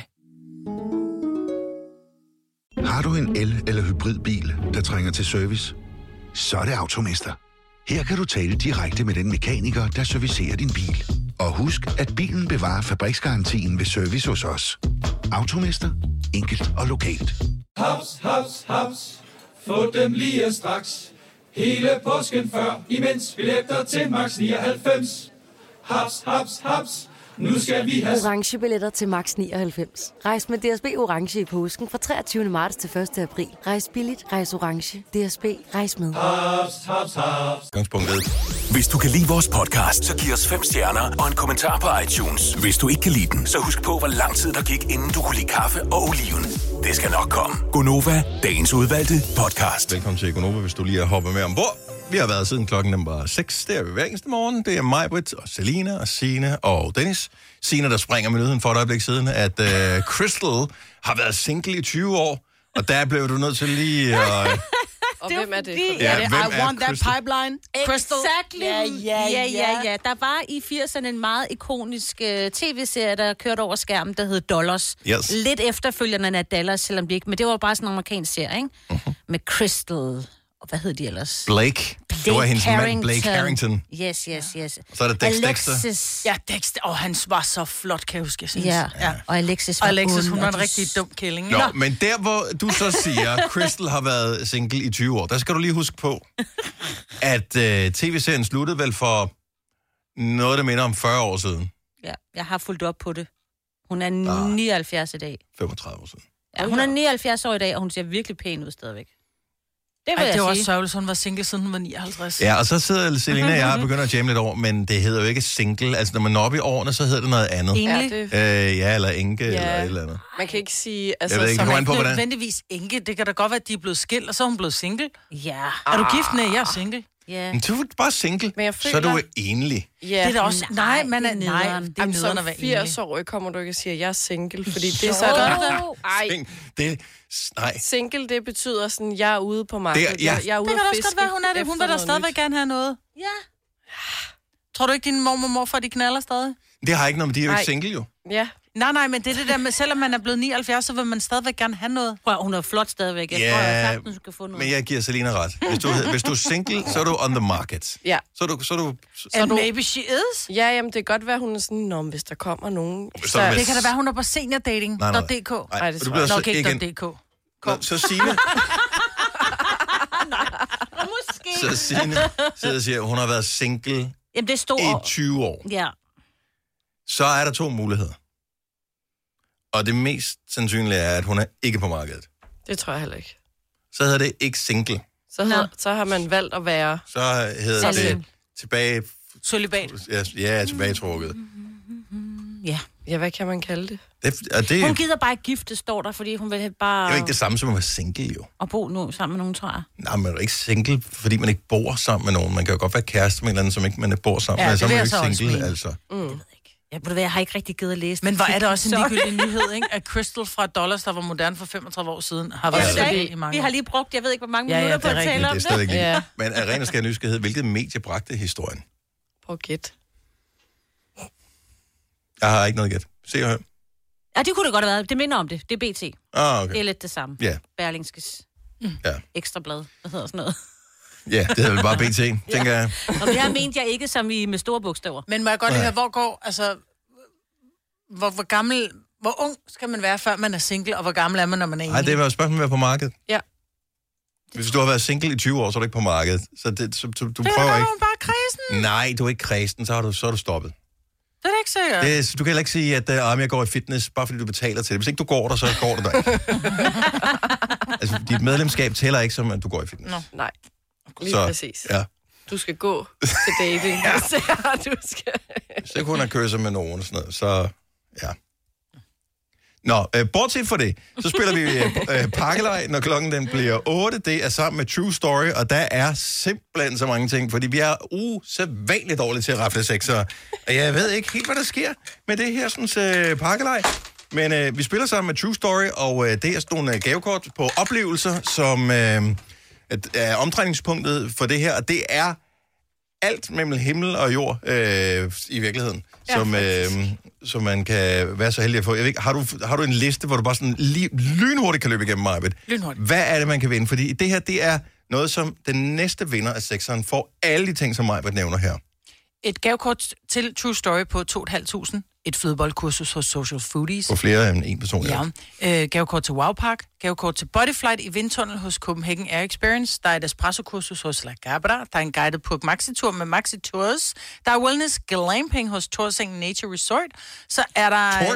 Speaker 11: Har du en el- eller hybridbil, der trænger til service? Så er det Automester. Her kan du tale direkte med den mekaniker, der servicerer din bil. Og husk, at bilen bevarer fabriksgarantien ved service hos os. Automester. Enkelt og lokalt.
Speaker 12: Haps, haps, haps. Få dem lige straks. Hele påsken før, imens vi billetter til max 99. Haps, haps, haps. Nu skal vi have...
Speaker 13: orange billetter til max 99. Rejs med DSB orange i påsken fra 23. marts til 1. april. Rejs billigt, rejs orange. DSB rejs med.
Speaker 12: Haps, haps, haps.
Speaker 1: Gangspunktet.
Speaker 7: Hvis du kan lide vores podcast, så giv os fem stjerner og en kommentar på iTunes. Hvis du ikke kan lide den, så husk på, hvor lang tid der gik, inden du kunne lide kaffe og oliven. Det skal nok komme.
Speaker 1: Gonova, dagens udvalgte podcast. Velkommen til Gonova, hvis du lige har hoppet med ombord. Vi har været siden klokken den var 6. Det er vi hver eneste morgen. Det er mig, Britt, og Selina, og Sine og Dennis. Sine, der springer med nyheden for et øjeblik siden, at øh, Crystal har været single i 20 år. Og der blev du nødt til lige at... Øh,
Speaker 6: Og hvem er det?
Speaker 1: Ja, Ja, det er, hvem I er want that Crystal?
Speaker 6: pipeline.
Speaker 5: Exactly. Ja, ja, ja, ja, ja. Der var i 80'erne en meget ikonisk uh, tv-serie, der kørte over skærmen, der hed Dollars.
Speaker 14: Yes.
Speaker 5: Lidt efterfølgende af Dallas, selvom de ikke... Men det var bare sådan en amerikansk serie, ikke? Uh-huh. Med Crystal... Og hvad hed de ellers?
Speaker 1: Mhm. Blake. Det var hendes mand, Blake Harrington.
Speaker 5: Yes, yes, yes.
Speaker 1: Og så er der Dex Dexter.
Speaker 5: Alexis.
Speaker 2: Ja, Dexter. Og han var så flot, kan jeg huske. jeg synes.
Speaker 5: Ja, ja. og Alexis
Speaker 2: Og
Speaker 5: var
Speaker 2: Alexis,
Speaker 5: ond,
Speaker 2: hun
Speaker 5: og
Speaker 2: var en
Speaker 5: de-
Speaker 2: rigtig dum kælling.
Speaker 1: Nå, men der hvor du så siger, Crystal har været single i 20 år, der skal du lige huske på, at øh, tv-serien sluttede vel for noget, der minder om 40 år siden.
Speaker 5: Ja, jeg har fulgt op på det. Hun er 79 i dag.
Speaker 1: 35 Ah. år siden.
Speaker 5: Ja, hun er 79 år i dag, og hun ser virkelig pæn ud stadigvæk. Det vil
Speaker 2: Ej,
Speaker 5: jeg
Speaker 2: det var også
Speaker 5: sige.
Speaker 2: sørgeligt, hun var single siden hun var 59.
Speaker 1: Ja, og så sidder Selina og jeg og begynder at jamme lidt over, men det hedder jo ikke single. Altså, når man er oppe i årene, så hedder det noget andet.
Speaker 2: Enlig.
Speaker 1: Øh, ja, eller enke,
Speaker 2: Ja.
Speaker 1: ja. eller et eller andet.
Speaker 6: Man kan ikke sige...
Speaker 1: altså, ved ikke, som- det kommer an på, hvordan-
Speaker 2: nødvendigvis enke. Det kan da godt være, at de er blevet skilt, og så er hun blevet single.
Speaker 5: Ja. Ah.
Speaker 2: Er du gift? Nej, jeg er single.
Speaker 5: Ja.
Speaker 1: Men du er bare single,
Speaker 6: Men jeg
Speaker 1: så er du
Speaker 6: føler-
Speaker 1: enlig.
Speaker 6: Ja.
Speaker 2: Det er da også- nej, man er-
Speaker 6: det
Speaker 2: nej,
Speaker 6: nederen.
Speaker 2: det er
Speaker 6: Jamen,
Speaker 2: nederen
Speaker 6: som
Speaker 2: at være
Speaker 6: 80 år kommer du ikke og siger, at jeg er single, fordi det er så...
Speaker 2: Jo.
Speaker 6: Ej,
Speaker 1: Det, s- nej,
Speaker 6: single, det betyder sådan, jeg er ude på markedet.
Speaker 1: Det er- ja.
Speaker 6: jeg, jeg er
Speaker 2: Det
Speaker 6: ude
Speaker 2: kan da
Speaker 6: at
Speaker 2: også godt
Speaker 6: fiske
Speaker 2: være, hun er det. Hun
Speaker 6: efter
Speaker 2: vil da
Speaker 6: noget
Speaker 2: stadigvæk
Speaker 6: nyt.
Speaker 2: gerne have noget.
Speaker 5: Ja.
Speaker 2: Tror du ikke, din mormor og morfar, de knaller stadig?
Speaker 1: det har ikke noget med, de er jo
Speaker 2: Nej.
Speaker 1: ikke single jo.
Speaker 6: Ja.
Speaker 2: Nej, nej, men det er det der med, selvom man er blevet 79, så vil man stadigvæk gerne have noget.
Speaker 5: Prøv, hun er flot stadigvæk.
Speaker 1: Jeg tror, jeg Ja, sagtens
Speaker 5: skal få
Speaker 1: Men jeg giver Selina ret. Hvis du, hvis du er single, så er du on the market.
Speaker 6: Ja.
Speaker 1: Så er du, så er du
Speaker 2: And maybe she is.
Speaker 6: Ja, jamen det kan godt være, hun er sådan, Nå, men hvis der kommer nogen...
Speaker 1: hvis der er
Speaker 2: Det
Speaker 1: vist-
Speaker 2: kan da være, hun er på seniordating.dk.
Speaker 1: Nej, nej, nej. Ej,
Speaker 2: Ej,
Speaker 1: og
Speaker 2: det
Speaker 1: du
Speaker 2: tror
Speaker 1: bliver
Speaker 2: jeg.
Speaker 1: så
Speaker 2: Nok ikke
Speaker 1: ikke en-
Speaker 2: .dk.
Speaker 1: Nå, så Signe,
Speaker 5: Måske.
Speaker 1: så Signe sidder og siger, at hun har været single
Speaker 5: *laughs* Jamen, det stod...
Speaker 1: i 20 år.
Speaker 5: Ja.
Speaker 1: Så er der to muligheder. Og det mest sandsynlige er, at hun er ikke på markedet.
Speaker 6: Det tror jeg heller ikke.
Speaker 1: Så hedder det ikke single.
Speaker 6: Så, hedder, så har man valgt at være...
Speaker 1: Så hedder
Speaker 6: Single.
Speaker 1: det tilbage...
Speaker 2: Solibat.
Speaker 1: Ja, ja tilbagetrukket.
Speaker 5: Ja.
Speaker 6: Ja, hvad kan man kalde det?
Speaker 1: Det, og det er
Speaker 5: Hun
Speaker 1: jo
Speaker 5: gider bare ikke gifte, står der, fordi hun vil bare...
Speaker 1: ikke det samme som at være single, jo.
Speaker 5: Og bo nu sammen med nogen, tror jeg.
Speaker 1: Nej, man er jo ikke single, fordi man ikke bor sammen med nogen. Man kan jo godt være kæreste med en eller anden, som ikke man bor sammen
Speaker 5: Ja,
Speaker 1: med.
Speaker 5: det
Speaker 1: Så er
Speaker 5: vil
Speaker 1: man jo
Speaker 5: jeg så
Speaker 1: ikke
Speaker 5: også
Speaker 1: single,
Speaker 5: mene.
Speaker 1: altså.
Speaker 5: Mm. Jeg, ved du hvad, jeg har ikke rigtig givet at læse
Speaker 2: Men hvor er det også
Speaker 5: *laughs*
Speaker 2: en
Speaker 5: Så-
Speaker 2: ligegyldig nyhed, ikke? At Crystal fra Dollars, der var moderne for 35 år siden, har været
Speaker 5: Ja, det er
Speaker 2: single
Speaker 5: rigtigt.
Speaker 2: i mange
Speaker 5: Vi
Speaker 2: år.
Speaker 5: har lige brugt, jeg ved ikke, hvor mange
Speaker 2: Ja, ja,
Speaker 5: minutter på
Speaker 2: det er
Speaker 5: at tale
Speaker 1: Men
Speaker 5: om
Speaker 1: det er
Speaker 5: det.
Speaker 1: stadig ikke.
Speaker 5: Ja.
Speaker 1: Ja. Men af ren og skær nysgerrighed, hvilket medie bragte historien?
Speaker 6: Prøv at gætte.
Speaker 1: Jeg har ikke noget gæt. Se og hør.
Speaker 5: ja, det kunne det godt have været. Det minder om det. Det er BT.
Speaker 1: Ah,
Speaker 5: Det er
Speaker 1: okay.
Speaker 5: lidt det samme.
Speaker 1: Ja.
Speaker 5: Berlingskes
Speaker 2: Mm.
Speaker 1: Ja.
Speaker 5: ekstrablad. Hvad hedder sådan noget?
Speaker 1: ja, det hedder vel bare
Speaker 5: *laughs*
Speaker 1: BT, tænker jeg.
Speaker 5: Og det her mente jeg ikke som i med store bogstaver.
Speaker 2: Men må jeg godt lige
Speaker 1: Nej.
Speaker 2: høre, hvor går, altså, hvor, hvor gammel, hvor ung skal man være, før man er single, og hvor gammel er man, når man er enlig?
Speaker 1: Nej, det var jo et spørgsmål, om at være på markedet.
Speaker 2: Ja.
Speaker 1: Hvis du har været single i 20 år, så er du ikke på markedet. Så, det, så du, du
Speaker 2: Det er
Speaker 1: prøver
Speaker 2: da
Speaker 1: ikke.
Speaker 2: hun bare kredsen.
Speaker 1: Nej, du er ikke kredsen, så, har du, så er du stoppet.
Speaker 2: Det er da ikke sikkert.
Speaker 1: Ja. Det, du kan heller ikke sige, at uh, jeg går i fitness, bare fordi du betaler til det. Hvis ikke du går der, så går du der ikke. altså, dit medlemskab tæller ikke, som at du går i fitness.
Speaker 6: Nå. Nej, lige
Speaker 1: så,
Speaker 6: præcis.
Speaker 1: Ja.
Speaker 6: Du skal gå til
Speaker 1: *laughs*
Speaker 6: dating. *laughs* ja. du skal...
Speaker 1: Hvis ikke hun har kysset med nogen og sådan noget, så ja. Nå, øh, bortset fra det, så spiller vi øh, øh, pakkelej, når klokken den bliver 8. Det er sammen med True Story, og der er simpelthen så mange ting, fordi vi er usædvanligt dårlige til at rafle sekser. Og jeg ved ikke helt, hvad der sker med det her sådan, øh, pakkelej. Men øh, vi spiller sammen med True Story, og øh, det er sådan nogle øh, gavekort på oplevelser, som øh, at, er omdrejningspunktet for det her, og det er alt mellem himmel og jord øh, i virkeligheden, ja, som, øh, som man kan være så heldig at få. Jeg ved ikke, har, du, har du en liste, hvor du bare sådan lige, lynhurtigt kan løbe igennem mig?
Speaker 2: Lynhurtigt.
Speaker 1: Hvad er det, man kan vinde? Fordi det her, det er Noget, som den næste vinder af sekseren får alle de ting, som Majbert nævner her.
Speaker 2: Et gavekort til True Story på 2.500. Et flødeboldkursus hos Social Foodies.
Speaker 1: På flere end en person.
Speaker 2: Ja. Øh, gavekort til Wow Park, gavekort til Bodyflight i vindtunnel hos Copenhagen Air Experience, der er et espresso-kursus hos La Gabra, der er en guided på Maxi-tur med Maxi Tours, der er wellness glamping hos Torsing Nature Resort, så er der... *laughs*
Speaker 1: Torsing?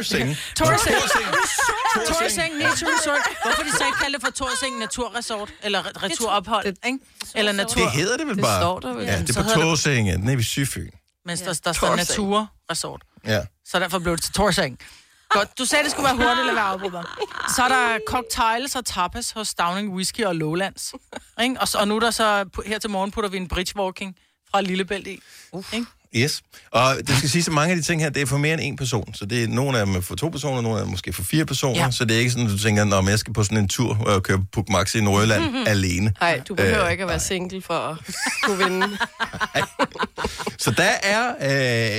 Speaker 2: Torsing.
Speaker 1: Torsing.
Speaker 2: Torsing. Torsing Nature Resort. Hvorfor de så ikke kalde det for Torsing Naturresort, eller returophold, ikke? Eller natur...
Speaker 1: Det hedder det vel bare?
Speaker 2: Det står der vel.
Speaker 1: Ja, det
Speaker 2: Så
Speaker 1: er på
Speaker 2: hedder
Speaker 1: Tåsinge, den er ved Sydfyn.
Speaker 2: Mens der, der står
Speaker 1: Torsing.
Speaker 2: Naturresort.
Speaker 1: Ja.
Speaker 2: Så derfor blev det til Torsang. Godt, du sagde, det skulle være hurtigt at være afbrudt. hva'? Så er der cocktails og tapas hos Downing Whisky og Lowlands. Ikke? Og, så, og nu er der så, her til morgen putter vi en bridge walking fra Lillebælt i. Ikke?
Speaker 1: Yes. Og det skal sige, at mange af de ting her, det er for mere end en person. Så det er, nogle af dem er for to personer, nogle af dem måske for fire personer.
Speaker 2: Ja.
Speaker 1: Ja. Så det er ikke sådan, at du tænker, når jeg skal på sådan en tur og køre Puk Maxi i Nordjylland
Speaker 6: *laughs* Mhm.
Speaker 1: alene.
Speaker 6: Nej, du behøver
Speaker 1: Øh,
Speaker 6: øh, ikke at være single for at kunne vinde.
Speaker 1: Så der er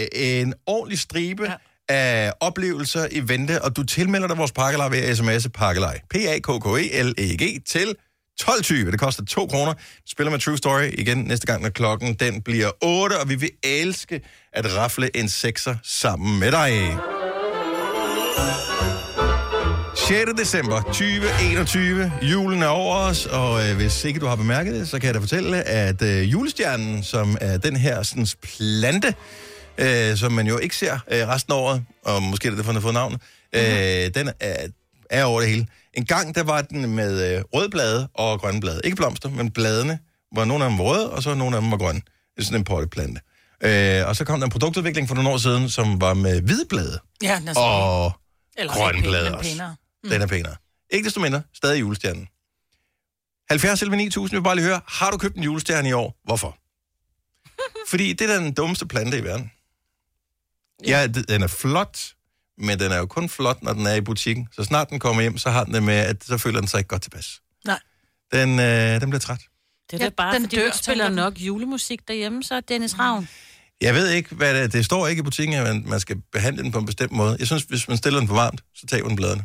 Speaker 1: øh, en ordentlig stribe ja. af oplevelser i vente, og du tilmelder dig vores pakkelej ved at sms'e pakkelej. E P-A-K-K-E-L-E-G til 12.20. Det koster 2 kroner. Spiller med True Story igen næste gang, når klokken den bliver 8, og vi vil elske at rafle en sekser sammen med dig. 6. december 2021. Julen er over os, og øh, hvis ikke du har bemærket det, så kan jeg da fortælle, at øh, julestjernen, som er den her sådan, plante, øh, som man jo ikke ser øh, resten af året, og måske er det derfor, den har fået navnet, øh,
Speaker 2: Mhm.
Speaker 1: den er, er over det hele. En gang, der var den med øh, røde blade og grønne blade. Ikke blomster, men bladene var nogle af dem var røde, og så nogle af dem var grønne. Det er sådan en potteplante. Øh, og så kom der en produktudvikling for nogle år siden, som var med hvide blade
Speaker 2: Ja, den er så
Speaker 1: og
Speaker 2: Eller
Speaker 1: grønne
Speaker 2: ikke pæn,
Speaker 1: blade
Speaker 2: men
Speaker 1: også.
Speaker 2: pænere. Mm.
Speaker 1: Den er pænere. Ikke desto mindre, stadig julestjernen. 70 eller 9000, vi bare lige høre, har du købt en julestjerne i år? Hvorfor? Fordi det er den dummeste plante i verden. Ja, d- den er flot, men den er jo kun flot, når den er i butikken. Så snart den kommer hjem, så har den det med, at så føler den sig ikke godt tilpas.
Speaker 2: Nej.
Speaker 1: Den, øh, den bliver træt.
Speaker 5: Det er ja,
Speaker 2: Ja,
Speaker 5: bare,
Speaker 2: den
Speaker 5: fordi
Speaker 2: dør, Mm.
Speaker 5: du ikke spiller
Speaker 2: tænker den.
Speaker 5: nok julemusik derhjemme, så er Dennis Ravn.
Speaker 1: Jeg ved ikke, hvad det er. Det står ikke i butikken, at man- man skal behandle den på en bestemt måde. Jeg synes, hvis man stiller den for varmt, så taber den bladene.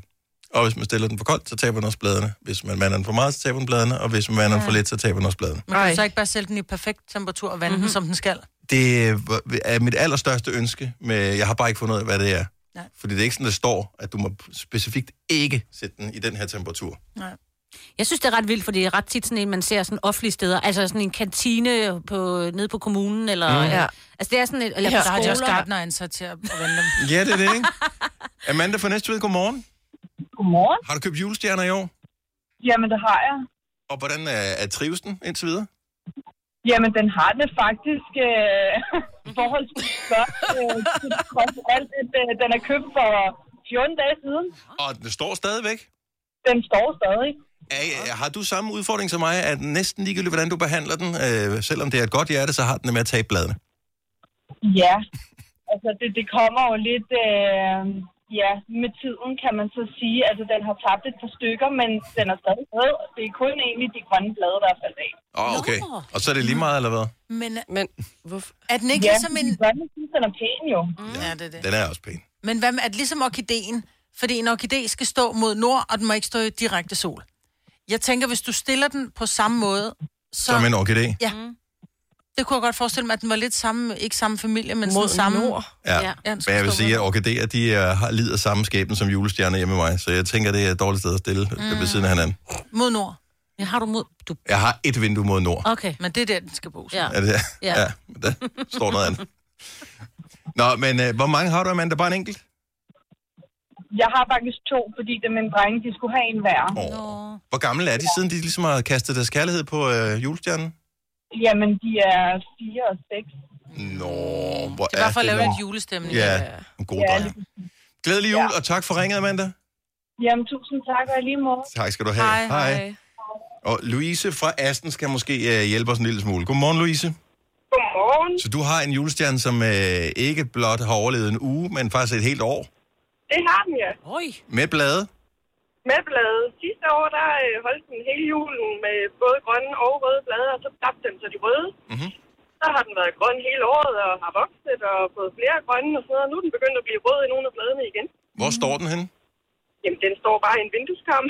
Speaker 1: Og hvis man stiller den for koldt, så taber den også bladene. Hvis man vander den for meget, så taber den bladene. Og hvis man vander den for lidt, så taber den også bladene.
Speaker 2: Man kan du så ikke bare sælge den i perfekt temperatur og vande
Speaker 14: Mhm.
Speaker 2: mm-hmm. den, som den skal.
Speaker 1: Det var- er mit allerstørste ønske. Men jeg har bare ikke fundet ud af, hvad det er.
Speaker 2: Nej.
Speaker 1: Fordi det er ikke sådan, der står, at du må specifikt ikke sætte den i den her temperatur.
Speaker 5: Jeg synes, det er ret vildt, fordi det er ret tit sådan en, man ser sådan offentlige steder. Altså sådan en kantine på, nede på kommunen, eller...
Speaker 1: Mm. Ja.
Speaker 5: Altså det er sådan et... Eller
Speaker 2: Eller
Speaker 5: ja,
Speaker 2: ja,
Speaker 5: på
Speaker 2: der har de også
Speaker 5: skoler.
Speaker 2: gardner ansat til at at
Speaker 14: *laughs*
Speaker 2: vande dem.
Speaker 1: Ja, det er det, ikke? Amanda fra Næstved, godmorgen.
Speaker 14: Godmorgen.
Speaker 1: Har du købt julestjerner i år?
Speaker 14: Jamen, det har jeg.
Speaker 1: Og hvordan øh, er trives den indtil videre?
Speaker 14: Jamen, den har det faktisk øh, forholdsvis godt. Øh, til trods for alt, at øh, den er købt for 14 dage siden.
Speaker 1: Og den står stadigvæk?
Speaker 14: Den står stadig.
Speaker 1: Er, har du samme udfordring som mig, at næsten ligegyldigt, hvordan du behandler den, øh, selvom det er et godt hjerte, så har den det med at tabe bladene?
Speaker 14: Ja. Altså, det, det kommer jo lidt øh, ja, med tiden, kan man så sige. Altså, den har tabt et par stykker, men den er stadig rød. Det er kun egentlig de grønne blade, der er faldet af.
Speaker 1: Åh, oh, okay. Og så er det lige meget, eller hvad?
Speaker 2: Men,
Speaker 6: Men hvorfor?
Speaker 2: er den ikke
Speaker 14: ja,
Speaker 2: ligesom en...
Speaker 14: de grønne synes, den er pæn jo.
Speaker 2: Mm. Ja, det er det.
Speaker 1: Den er også pæn.
Speaker 2: Men hvad med, at ligesom orkideen, fordi en orkidé skal stå mod nord, og den må ikke stå i direkte sol. Jeg tænker, hvis du stiller den på samme måde, så...
Speaker 1: Som en orkidé?
Speaker 2: Ja. Det kunne jeg godt forestille mig, at den var lidt samme, ikke samme familie, men mod sådan samme... Nord.
Speaker 1: Ja.
Speaker 2: ja
Speaker 1: Men jeg vil sige, at orkideer, de er, har, lider samme skæbne som julestjerner hjemme med mig, så jeg tænker, det er et dårligt sted at stille mm. ved siden af hinanden.
Speaker 2: mod nord.
Speaker 5: Ja, har du mod... Du...
Speaker 1: Jeg har et vindue mod nord.
Speaker 5: Okay.
Speaker 2: Men det er der, den skal bo.
Speaker 5: Ja.
Speaker 1: Er det
Speaker 5: Ja.
Speaker 1: ja. ja. men Der står noget andet. Nå, men øh, hvor mange har du, Amanda? Bare en enkelt?
Speaker 14: Jeg har faktisk to, fordi det mine drenge, de skulle have en hver.
Speaker 1: Hvor gamle er de, siden de ligesom har kastet deres kærlighed på øh, julestjernen?
Speaker 14: Jamen, de er fire og seks.
Speaker 1: Nå, hvor
Speaker 2: Det er bare for at lave
Speaker 1: lort.
Speaker 2: lidt julestemning.
Speaker 1: Ja, en god
Speaker 14: Ja,
Speaker 1: dreng. Glædelig jul, og tak for ringet, Amanda.
Speaker 14: Jamen, tusind tak, og i lige måde.
Speaker 1: Tak skal du have. Hej, hej. Hej. Og Louise fra Asten skal måske øh, hjælpe os en lille smule. Godmorgen, Louise.
Speaker 15: Godmorgen.
Speaker 1: Så du har en julestjerne, som øh, ikke blot har overlevet en uge, men faktisk et helt år
Speaker 15: Det har den, ja.
Speaker 5: Oj.
Speaker 1: med blade.
Speaker 15: Med blade. Sidste år, der øh, holdt den hele julen med både grønne og røde blade, og så tabte den så de røde.
Speaker 1: Mm-hmm.
Speaker 15: Så har den været grøn hele året og har vokset og fået flere grønne og sådan noget. Nu er den begyndt at blive rød i nogle af bladene igen.
Speaker 1: Hvor står den henne?
Speaker 15: Jamen, den står bare i en *laughs* vindueskamp.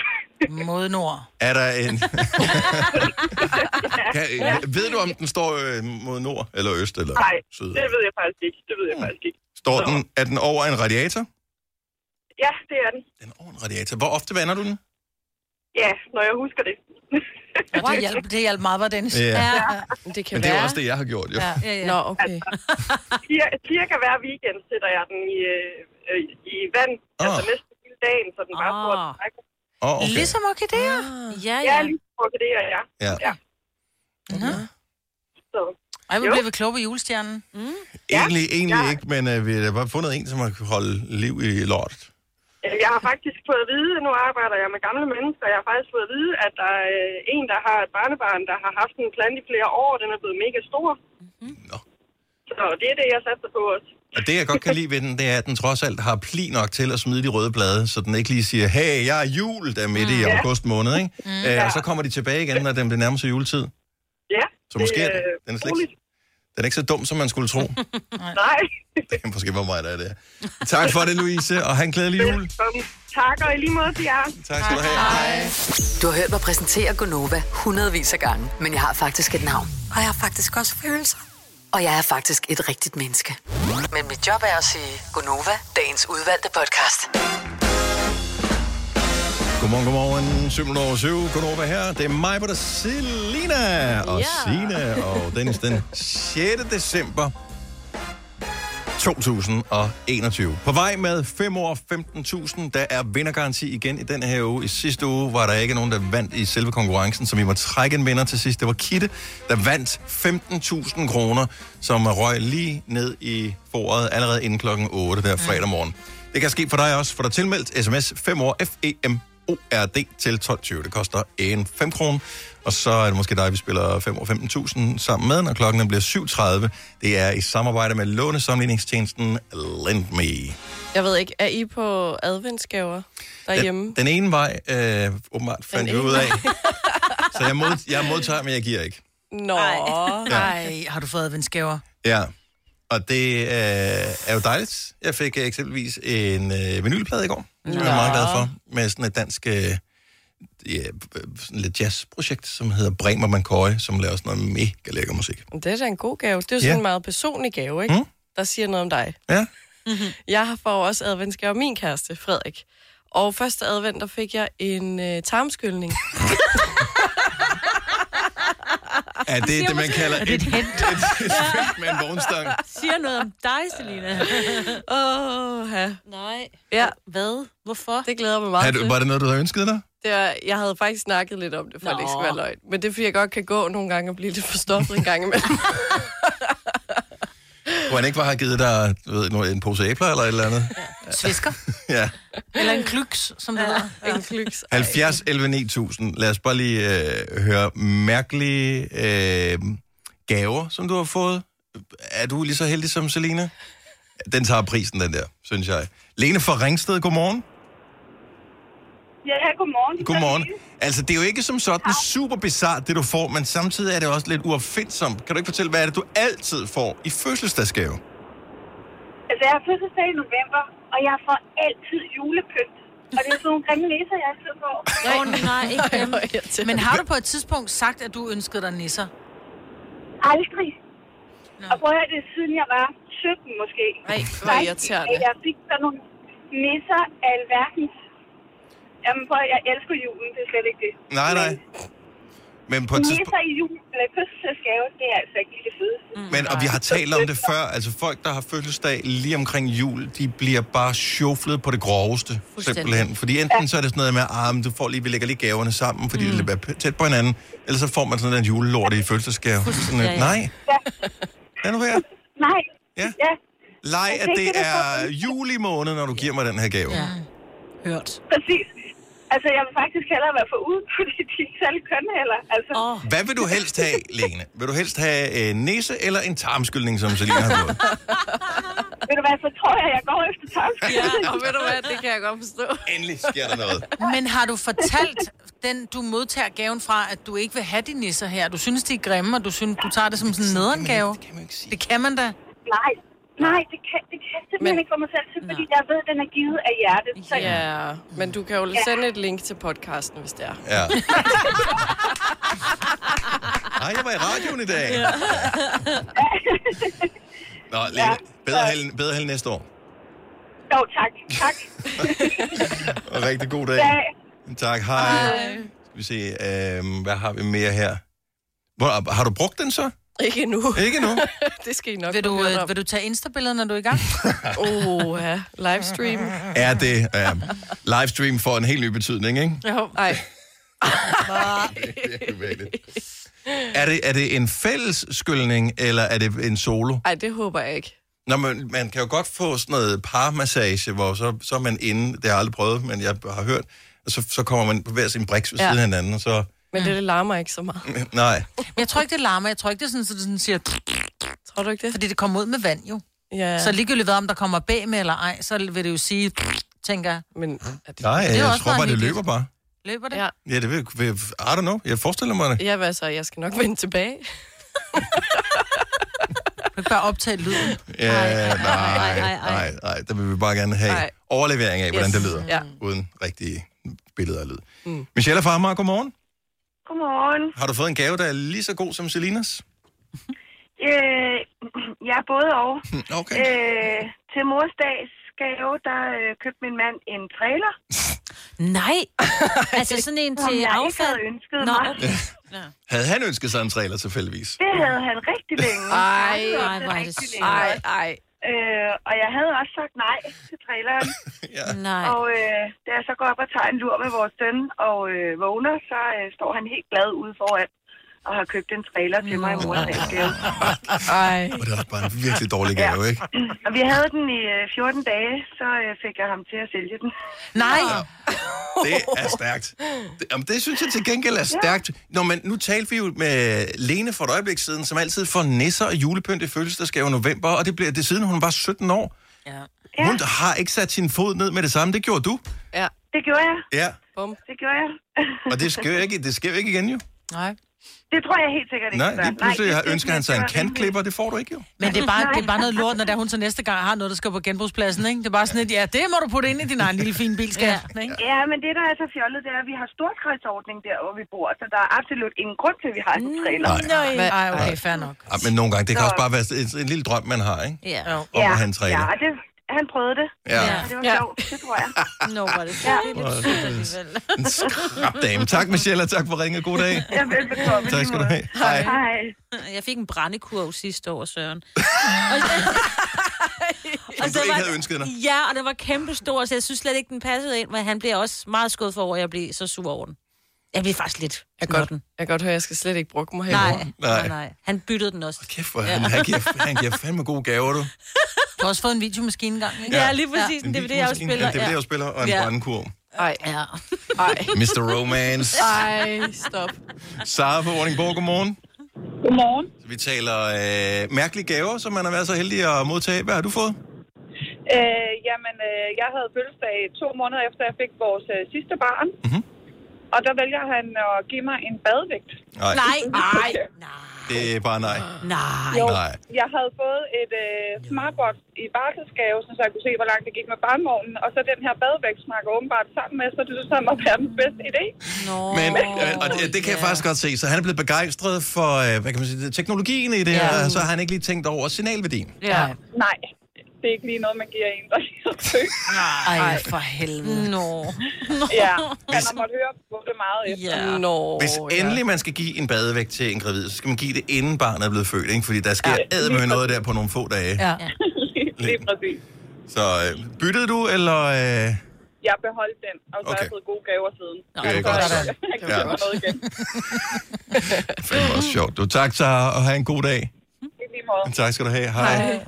Speaker 2: Modnord.
Speaker 1: Er der
Speaker 15: *laughs*
Speaker 1: en... kan, ved du, om den står øh, mod nord, eller øst, eller
Speaker 15: Nej,
Speaker 1: syd?
Speaker 15: det ved jeg faktisk ikke. Det ved jeg
Speaker 1: Mm.
Speaker 15: faktisk ikke.
Speaker 1: Står den, er den over en radiator?
Speaker 15: Ja, det er den.
Speaker 1: En radiator. Hvor ofte vander du den?
Speaker 15: Ja, når jeg husker det.
Speaker 2: Og det hjalp, det hjalp meget, var Dennis.
Speaker 1: Ja.
Speaker 2: ja.
Speaker 6: Det
Speaker 1: Men det er jo også det, jeg har gjort, jo.
Speaker 2: Ja.
Speaker 1: Ja.
Speaker 2: Ja, ja.
Speaker 6: Nå, okay.
Speaker 15: altså, Cir- Cirka hver weekend sætter jeg den i, øh, øh, i vand. Oh. Altså næsten hele dagen, så den bare står og trækker.
Speaker 1: Oh, Ah. okay.
Speaker 2: Ah.
Speaker 1: Ah.
Speaker 2: Ligesom orkideer.
Speaker 5: Ja,
Speaker 15: Ja, ligesom orkideer, ja.
Speaker 1: Ja.
Speaker 15: ja. Så.
Speaker 2: Ej, hvor
Speaker 15: Jo.
Speaker 2: blev vi kloge på julestjernen. Mm.
Speaker 1: Egentlig, egentlig ja. ikke, men øh, vi har da bare fundet en, som har kunnet holde liv i lort.
Speaker 15: Jamen, Jeg har faktisk fået at vide, nu arbejder jeg med gamle mennesker, jeg har faktisk fået at vide, at der er øh, en, der har et barnebarn, der har haft en plante i flere år, og den er blevet mega stor. Mm-hmm. Så det er det, jeg satser på også.
Speaker 1: Og det, jeg godt kan lide ved den, det er, at den trods alt har pli nok til at smide de røde blade, så den ikke lige siger, hey, jeg er jul, der er midt mm. i
Speaker 15: Mm. Ja.
Speaker 1: august måned, ikke?
Speaker 15: Mm.
Speaker 1: Mm. Øh, og så kommer de tilbage igen, når den bliver nærmest juletid.
Speaker 15: Ja,
Speaker 1: Så måske er
Speaker 15: det,
Speaker 1: den, den er slet ikke, den er ikke så dum, som man skulle *laughs* tro.
Speaker 15: øh,
Speaker 2: *laughs*
Speaker 15: Nej,
Speaker 1: det kan måske være mig, der er det. Tak for det, Louise, og have en glædelig jul.
Speaker 15: Velkommen. Øhm, tak og i lige måde til jer.
Speaker 1: Tak skal du have. Hej.
Speaker 8: Du har hørt mig præsentere Gonova hundredvis af gange, men jeg har faktisk et navn.
Speaker 9: Og jeg har faktisk også følelser.
Speaker 8: Og jeg er faktisk et rigtigt menneske. Men mit job er at sige Gonova, dagens udvalgte podcast.
Speaker 1: Godmorgen, godmorgen. 7 over 7. Godnova her. Det er mig, på der Selina og
Speaker 16: Ja.
Speaker 1: Sina og Dennis den 6. december 2021. På vej med 5 år 15.000. Der er vindergaranti igen i den her uge. I sidste uge var der ikke nogen, der vandt i selve konkurrencen, så vi må trække en vinder til sidst. Det var Kitte, der vandt 15.000 kroner, som røg lige ned i foråret allerede inden klokken 8 der fredag morgen. Det kan ske for dig også, for der er tilmeldt sms 5 år E FEM ORD til 12.20. Det koster en 5 kroner. Og så er det måske dig, vi spiller 5 år 15.000 sammen med, når klokken den bliver 7.30. Det er i samarbejde med lånesamligningstjenesten LendMe.
Speaker 6: Jeg ved ikke, er I på adventsgaver derhjemme?
Speaker 1: Den ene vej, øh, åbenbart fandt vi
Speaker 6: ene
Speaker 1: ud af. så jeg, mod, jeg modtager, men jeg giver ikke.
Speaker 6: Nå.
Speaker 2: *laughs* Nej, har du fået adventsgaver?
Speaker 1: Ja. Og det øh, er jo dejligt. Jeg fik øh, eksempelvis en øh, vinylplade i går, som jeg
Speaker 2: Nå.
Speaker 1: er meget glad for, med sådan et dansk øh, ja, sådan lidt jazzprojekt, som hedder Bremer McCoy, som laver sådan noget mega lækker musik.
Speaker 6: Det er da en god gave. Det er jo sådan
Speaker 1: Ja.
Speaker 6: en meget personlig gave, ikke?
Speaker 1: Mm.
Speaker 6: Der siger noget om dig.
Speaker 1: Ja.
Speaker 6: Jeg får også adventsgave af min kæreste, Frederik. Og første advent, der fik jeg en øh, tarmskyldning.
Speaker 1: Er det det, man kalder
Speaker 5: Er det et hent?
Speaker 1: *laughs* et felt med en vognstang?
Speaker 5: Siger noget om dig, Selina.
Speaker 2: *laughs*
Speaker 6: Åh, oh, ja.
Speaker 5: Nej.
Speaker 6: Ja.
Speaker 5: Hvad? Hvorfor?
Speaker 6: Det glæder mig meget
Speaker 1: Har du,
Speaker 6: til.
Speaker 1: var det noget, du havde ønsket dig?
Speaker 6: Det er, jeg havde faktisk snakket lidt om det, for at det ikke skal
Speaker 5: Nå.
Speaker 6: være løgn. Men det er, fordi jeg godt kan gå nogle gange og blive lidt forstoppet en gang imellem.
Speaker 1: Kunne han ikke bare have givet dig du ved, noget- en pose æbler eller et eller andet?
Speaker 2: Svisker?
Speaker 1: *laughs* Ja.
Speaker 2: Eller en klyks, som det hedder.
Speaker 6: *laughs* En klyks.
Speaker 1: 70 11 9000. Lad os bare lige øh, høre mærkelige øh, gaver, som du har fået. Er du lige så heldig som Selina? Den tager prisen, den der, synes jeg. Lene fra Ringsted, godmorgen.
Speaker 15: Ja, godmorgen.
Speaker 1: Godmorgen. Altså, det er jo ikke som sådan super bizart, det du får, men samtidig er det også lidt uopfindsomt. Kan du ikke fortælle, hvad er det, du altid får i fødselsdagsgave?
Speaker 15: Altså, jeg har fødselsdag i november, og jeg får altid julepynt. Og det er sådan nogle grimme nisser, jeg altid får.
Speaker 2: Åh, oh, nej, ikke dem. Men har du på et tidspunkt sagt, at du ønskede dig nisser?
Speaker 15: Aldrig. No. Og prøv at høre, det er siden jeg var 17 måske.
Speaker 6: Nej,
Speaker 2: hvor irriterende.
Speaker 15: Jeg fik sådan nogle nisser af alverden. Jamen prøv at høre, jeg elsker julen, det er slet ikke det.
Speaker 1: Nej, nej. Men på et tidspunkt...
Speaker 15: Nisser i julen eller fødselsdagsgave, det er altså ikke lige det fedeste.
Speaker 1: Men, og vi har talt om det før, altså folk, der har fødselsdag lige omkring jul, de bliver bare sjoflet på det groveste,
Speaker 15: Fuldstændig.
Speaker 1: simpelthen. Fordi enten så er det sådan noget med, ah, men du får lige, vi lægger lige gaverne sammen, fordi mm. det er tæt på hinanden, eller så får man sådan en julelort i fødselsdagsgave. Sådan,
Speaker 15: Ja,
Speaker 1: ja,
Speaker 15: ja.
Speaker 1: Nej, lad nu være.
Speaker 15: Nej.
Speaker 1: Ja.
Speaker 15: ja.
Speaker 1: Leg, at det er juli måned, når du giver mig den her gave. Ja.
Speaker 2: Hørt.
Speaker 15: Præcis. Altså, jeg vil faktisk hellere være for ude, fordi de er ikke særlig kønne heller. Altså, oh.
Speaker 1: Hvad vil du helst have, Lene? Vil du helst have en næse eller en tarmskyldning, som Selina har fået?
Speaker 15: ved du hvad, så tror jeg, jeg går efter tarmskyld.
Speaker 6: Ja, og ved du hvad, det kan jeg godt forstå.
Speaker 1: Endelig sker der noget.
Speaker 2: Men har du fortalt den, du modtager gaven fra, at du ikke vil have de nisser her? Du synes, de er grimme, og du, synes, du tager det som sådan en nederen gave? Det kan man da.
Speaker 15: Nej,
Speaker 14: Nej, det kan, det kan jeg simpelthen
Speaker 6: Men-
Speaker 14: Men... ikke få mig selv til, fordi jeg ved, at den er givet af hjertet. Så...
Speaker 6: Ja, men du kan jo
Speaker 14: Ja.
Speaker 6: sende et link til podcasten, hvis det er.
Speaker 1: *laughs* Ja. Ej, jeg var i radioen i dag. Ja. Nå, Lene, bedre, held, bedre held næste år.
Speaker 14: Jo, tak.
Speaker 1: *laughs*
Speaker 14: Tak.
Speaker 1: Og rigtig god dag.
Speaker 14: Ja.
Speaker 1: Tak, hej. Skal vi se, øh, hvad har vi mere her? Hvor, har du brugt den så?
Speaker 6: *laughs* Ikke endnu.
Speaker 1: Ikke endnu?
Speaker 6: *laughs* det skal I nok
Speaker 2: Vil
Speaker 6: få
Speaker 2: du,
Speaker 6: hørt om.
Speaker 2: øh, vil du tage Insta-billeder, når du er i
Speaker 6: *laughs*
Speaker 2: gang?
Speaker 6: Åh, ja. Livestream.
Speaker 1: Er det ja. livestream for en helt ny betydning, ikke?
Speaker 6: Jo.
Speaker 1: *laughs*
Speaker 6: Ej.
Speaker 1: Er det, er det en fælles skyldning, eller er det en solo?
Speaker 6: Ej, det håber jeg ikke.
Speaker 1: Nå, men man kan jo godt få sådan noget parmassage, hvor så, så er man inde, det har jeg aldrig prøvet, men jeg har hørt, og så, så kommer man på hver sin briks ved
Speaker 6: Ja.
Speaker 1: ja. siden af hinanden, og så...
Speaker 6: Men det, det larmer ikke så meget.
Speaker 1: Nej.
Speaker 2: Men jeg tror ikke, det larmer. Jeg tror ikke, det er sådan, så det sådan siger...
Speaker 6: Tror du ikke det?
Speaker 2: Fordi det kommer ud med vand, jo.
Speaker 6: Ja.
Speaker 2: Så ligegyldigt hvad, om der kommer bag med eller ej, så vil det jo sige... Tænker jeg.
Speaker 6: Men,
Speaker 1: Nej,
Speaker 2: Det er
Speaker 1: jeg
Speaker 2: også
Speaker 1: tror
Speaker 2: meget
Speaker 1: bare, det
Speaker 2: hyggeligt.
Speaker 1: løber bare.
Speaker 2: Løber det?
Speaker 6: Ja.
Speaker 1: Ja, det vil, vil- I don't know. Jeg forestiller mig det.
Speaker 6: Ja, hvad så? Jeg skal nok vende tilbage.
Speaker 2: Du kan bare optage lyden.
Speaker 1: Ja, Øh, nej,
Speaker 2: ej, ej,
Speaker 1: nej, nej,
Speaker 2: ej.
Speaker 1: nej, nej. Der vil vi bare gerne have
Speaker 2: Ej.
Speaker 1: overlevering af, hvordan
Speaker 6: Yes.
Speaker 1: det lyder,
Speaker 6: Ja.
Speaker 1: uden rigtige billeder og lyd.
Speaker 6: Mm.
Speaker 1: Michelle fra Amager, godmorgen.
Speaker 15: Godmorgen.
Speaker 1: Har du fået en gave, der er lige så god som Selinas?
Speaker 15: Øh, jeg er både og.
Speaker 1: Hm, Okay.
Speaker 15: Øh, til mors dags gave, der øh, købte min mand en trailer.
Speaker 5: Nej. *laughs* Altså sådan en
Speaker 15: Som
Speaker 5: til
Speaker 15: jeg ikke
Speaker 5: affald.
Speaker 15: havde ønsket
Speaker 5: Nå,
Speaker 15: mig.
Speaker 5: okay.
Speaker 1: Havde han ønsket sig en trailer tilfældigvis?
Speaker 15: Det havde han rigtig længe. Han
Speaker 6: Ej,
Speaker 15: havde
Speaker 6: ej, hvor er det
Speaker 15: rigtig
Speaker 6: sødt.
Speaker 15: længe.
Speaker 6: Ej, ej.
Speaker 15: Øh, og jeg havde også sagt nej til
Speaker 6: *laughs*
Speaker 15: traileren.
Speaker 1: ja.
Speaker 5: Nej.
Speaker 15: Og øh, da jeg så går op og tager en lur med vores søn og øh, vågner, så øh, står han helt glad ude foran og har købt en trailer til mig i mors *laughs* dagsgave.
Speaker 6: Ej.
Speaker 1: Og det var bare en virkelig dårlig gave, ikke?
Speaker 15: Og vi havde den i øh, 14 dage, så øh, fik jeg ham til at sælge den.
Speaker 2: Nej!
Speaker 1: Det er stærkt. Det, jamen, det synes jeg til gengæld er stærkt. Nå, men nu talte vi jo med Lene for et øjeblik siden, som altid får nisser og julepynt i fødselsdagsgave i november, og det bliver det er siden hun var 17 år. Ja. Hun har ikke sat sin fod ned med det samme. Det gjorde du.
Speaker 6: Ja.
Speaker 15: Det gjorde jeg.
Speaker 1: Ja,
Speaker 6: Bum.
Speaker 15: Det gjorde jeg.
Speaker 1: og det sker jo ikke, det sker jo ikke igen jo.
Speaker 2: Nej.
Speaker 15: *laughs* Det tror jeg helt sikkert ikke.
Speaker 1: Nej, lige pludselig
Speaker 15: det-
Speaker 1: har
Speaker 15: det-
Speaker 1: ønsker han sig en kantklipper, det får du ikke jo.
Speaker 2: Men det er, bare, det er bare noget lort, når der hun så næste gang har noget, der skal på genbrugspladsen, ikke? Det er bare sådan et, ja, det må du putte ind i din egen lille fine bil, skat. Ja. Ikke?
Speaker 15: Ja, men det, der er så fjollet, det er, at vi har storkredsordning der, hvor vi bor, så der er absolut ingen grund til, at vi har en trailer.
Speaker 2: Nej, Ej, okay, fair nok.
Speaker 1: Ja, Ah, men nogle gange, det kan
Speaker 15: Så-
Speaker 1: også bare være en, en lille drøm, man har, ikke?
Speaker 2: Ja.
Speaker 1: Om at have en trailer.
Speaker 15: Ja, det, han prøvede det.
Speaker 1: Ja.
Speaker 15: Og det var
Speaker 2: Ja.
Speaker 15: sjovt, det tror jeg.
Speaker 5: Nå, var det
Speaker 15: ja.
Speaker 1: En skrab dame. Tak, Michelle, og tak for ringet. God *laughs* dag.
Speaker 15: Ja, velbekomme.
Speaker 1: Tak skal du have. Hej.
Speaker 5: Jeg fik en brændekurv sidste år, Søren.
Speaker 1: Som du
Speaker 5: der
Speaker 1: ikke
Speaker 5: var-
Speaker 1: havde ønsket dig.
Speaker 5: Ja, og den var kæmpestor, så jeg synes slet ikke, den passede ind, men han blev også meget skuffet over, at jeg blev så sur over den. Jeg blev faktisk lidt
Speaker 6: Jeg kan godt, jeg kan godt høre, at jeg skal slet ikke bruge mig herover.
Speaker 5: Nej, nej, nej. Han byttede den også.
Speaker 1: Kæft, hvor han, han, giver, han giver fandme gode gaver, du.
Speaker 2: Du har også fået en videomaskine engang, ikke?
Speaker 5: Ja, lige præcis. En
Speaker 1: En videomaskine,
Speaker 5: DVD-afspiller,
Speaker 1: En
Speaker 5: ja.
Speaker 1: DVD-afspiller og en
Speaker 5: Ja.
Speaker 1: ja. brændekurv.
Speaker 6: Ej.
Speaker 5: Ja.
Speaker 6: Ej.
Speaker 1: Mr. Romance.
Speaker 6: Ej, stop.
Speaker 1: Sara på Vordingborg, godmorgen.
Speaker 16: Godmorgen.
Speaker 1: Vi taler øh, mærkelige gaver, som man har været så heldig at modtage. Hvad har du fået?
Speaker 16: Øh, jamen, øh, jeg havde fødselsdag to måneder efter, jeg fik vores øh, sidste barn. Mm-hmm. Og der vælger han at give mig en badevægt.
Speaker 1: Nej. Nej,
Speaker 16: nej.
Speaker 1: Det er bare nej.
Speaker 5: Nej.
Speaker 16: Jo,
Speaker 1: Nej.
Speaker 16: jeg havde fået et øh, smartbox i barselsgave, så jeg kunne se, hvor langt det gik med barnvognen. Og så den her badevægt snakker åbenbart sammen med, så det synes han var verdens bedste idé.
Speaker 5: Nå.
Speaker 1: Men, øh, og det, det kan jeg faktisk godt se. Så han er blevet begejstret for, øh, hvad kan man sige, teknologien i det
Speaker 16: Ja.
Speaker 1: her, og så har han ikke lige tænkt over signalværdien.
Speaker 16: Ja. Nej, det er ikke lige noget, man giver en, der lige har søgt.
Speaker 2: Ej, for helvede.
Speaker 5: Nå.
Speaker 16: Ja, han har måttet høre på det meget efter.
Speaker 5: Ja.
Speaker 6: Nå,
Speaker 1: Hvis endelig man skal give en badevægt til en gravid, så skal man give det, inden barnet er blevet født, ikke? Fordi der sker
Speaker 16: Ja.
Speaker 1: ædme noget der på nogle få dage.
Speaker 2: Ja.
Speaker 16: Lige præcis.
Speaker 1: Så øh, byttede du, eller... Øh,
Speaker 16: Jeg beholdt den, og så har jeg
Speaker 1: Okay.
Speaker 16: fået gode gaver siden.
Speaker 1: Nå, Det er
Speaker 16: så
Speaker 1: godt.
Speaker 16: jeg- jeg kan
Speaker 1: Ja.
Speaker 16: købe mig noget
Speaker 1: *laughs*
Speaker 16: igen.
Speaker 1: fandme også sjovt. Du, tak, Sara, og have en god dag.
Speaker 16: I lige måde.
Speaker 1: Tak skal du have. Hej.
Speaker 16: Hej.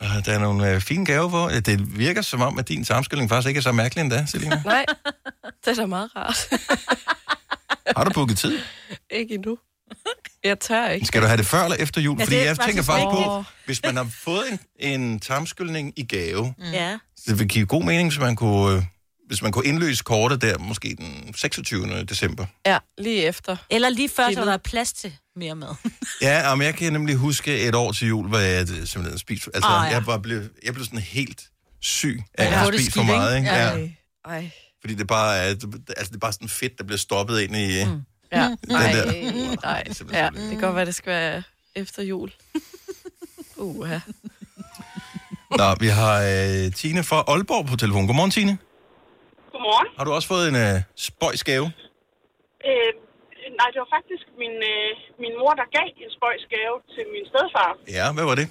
Speaker 1: Og Der er nogle øh, fine gaver for. Ja, Det virker som om, at din sammenstilling faktisk ikke er så mærkelig endda, Selina.
Speaker 6: Nej, det er da meget rart. *laughs*
Speaker 1: Har du booket tid?
Speaker 6: ikke endnu. Jeg tør ikke.
Speaker 1: Skal du have det før eller efter jul?
Speaker 6: Ja,
Speaker 1: Ja, Fordi
Speaker 6: det er
Speaker 1: jeg tænker
Speaker 6: faktisk
Speaker 1: faktisk på,
Speaker 6: rigtigt.
Speaker 1: hvis man har fået en, en tarmskyldning i gave,
Speaker 5: Ja.
Speaker 1: så det vil give god mening, hvis man kunne øh, hvis man kunne indløse kortet der, måske den 26. december.
Speaker 6: Ja, lige efter.
Speaker 5: Eller lige før, så der er plads til mere mad.
Speaker 2: *laughs*
Speaker 1: Ja, og men jeg kan nemlig huske et år til jul, hvor jeg øh, simpelthen spiste... Altså,
Speaker 5: Åh,
Speaker 1: oh,
Speaker 5: ja.
Speaker 1: ja. jeg, var blevet, jeg blev sådan helt syg
Speaker 6: Ja,
Speaker 1: af
Speaker 6: hvor
Speaker 1: ja,
Speaker 6: er
Speaker 1: at
Speaker 6: det
Speaker 1: spise for
Speaker 6: skidt,
Speaker 1: meget, ikke?
Speaker 6: ikke?
Speaker 1: Ja.
Speaker 6: Ej. Ej.
Speaker 1: Fordi det bare er, altså, det er bare sådan fedt, der bliver stoppet ind i... Mm.
Speaker 6: Ja.
Speaker 1: Den
Speaker 6: Nej,
Speaker 1: der.
Speaker 6: nej. Ja, det kan godt være, det skal være efter
Speaker 1: *laughs*
Speaker 6: jul. Uha.
Speaker 1: Nå, vi har øh, Tine fra Aalborg på telefon. Godmorgen, Tine.
Speaker 15: Godmorgen.
Speaker 1: Har du også fået en øh, spøjsgave?
Speaker 15: Øh, nej, det var faktisk min, øh, min mor, der gav en spøjsgave til min stedfar.
Speaker 1: Ja, hvad var det?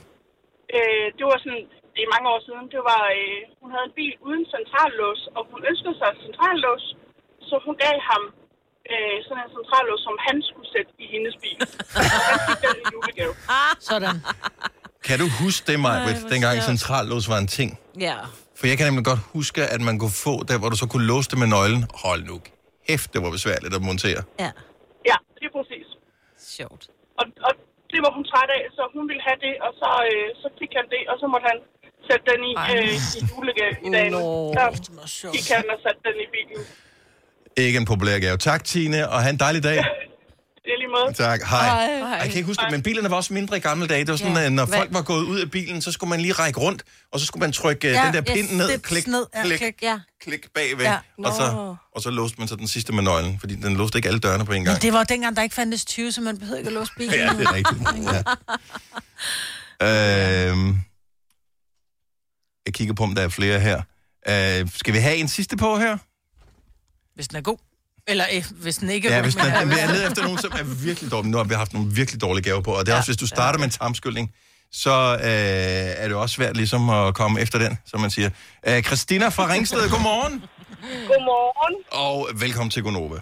Speaker 15: Øh, det var sådan, det er mange år siden, det var, øh, hun havde en bil uden centrallås, og hun ønskede sig en centrallås, så hun gav ham øh, sådan en centrallås, som han skulle sætte i hendes bil. Han fik den i julegave.
Speaker 5: Sådan.
Speaker 1: Kan du huske det, Maja,
Speaker 5: hvor
Speaker 1: dengang
Speaker 5: sjovt.
Speaker 1: centrallås var en ting?
Speaker 5: Ja.
Speaker 1: For jeg kan nemlig godt huske, at man kunne få der, hvor du så kunne låse det med nøglen. Hold nu kæft, det var besværligt at montere.
Speaker 5: Ja.
Speaker 15: Ja, det er præcis.
Speaker 5: Sjovt.
Speaker 15: Og, og det var hun træt af, så hun ville have det, og så, øh, så fik han det, og så måtte han sætte den i, øh, i julegavedagen. Der gik han og satte den i bilen.
Speaker 1: Ikke en populær gave. Tak, Tine, og have en dejlig dag.
Speaker 15: Det er lige måde.
Speaker 1: Tak, hej.
Speaker 15: Hej.
Speaker 1: Ej, Jeg kan ikke huske det, men bilerne var også mindre i gamle dage. Det var sådan,
Speaker 15: Ja.
Speaker 1: ja. at når
Speaker 15: Hvad-
Speaker 1: folk var gået ud af bilen, så skulle man lige række rundt, og så skulle man trykke ja, den der pind ned, klik, ned. klik, klik,
Speaker 5: Ja.
Speaker 1: klik bagved,
Speaker 2: Ja.
Speaker 1: ja. og, så,
Speaker 2: Nå.
Speaker 1: og så låste man så den sidste med nøglen, fordi den låste ikke alle dørene på en gang.
Speaker 2: Men det var jo dengang, der ikke fandtes 20, så man behøvede ikke at låse bilen.
Speaker 1: Ja, det er rigtigt. Ja. Øhm, jeg kigger på, om der er flere her. Øh, skal vi have en sidste på her?
Speaker 2: Hvis den er god. *laughs* Eller eh, hvis den ikke er
Speaker 1: Ja,
Speaker 2: god.
Speaker 1: hvis man
Speaker 2: men-
Speaker 1: ja, er nede efter nogen, som er virkelig dårlige. Nu har vi haft nogle virkelig dårlige gaver på, og det er ja, også, hvis du starter med en tarmskyldning, så øh, er det også svært ligesom at komme efter den, som man siger. Øh, Christina fra Ringsted, godmorgen,
Speaker 15: Godmorgen.
Speaker 1: og velkommen til Gonova.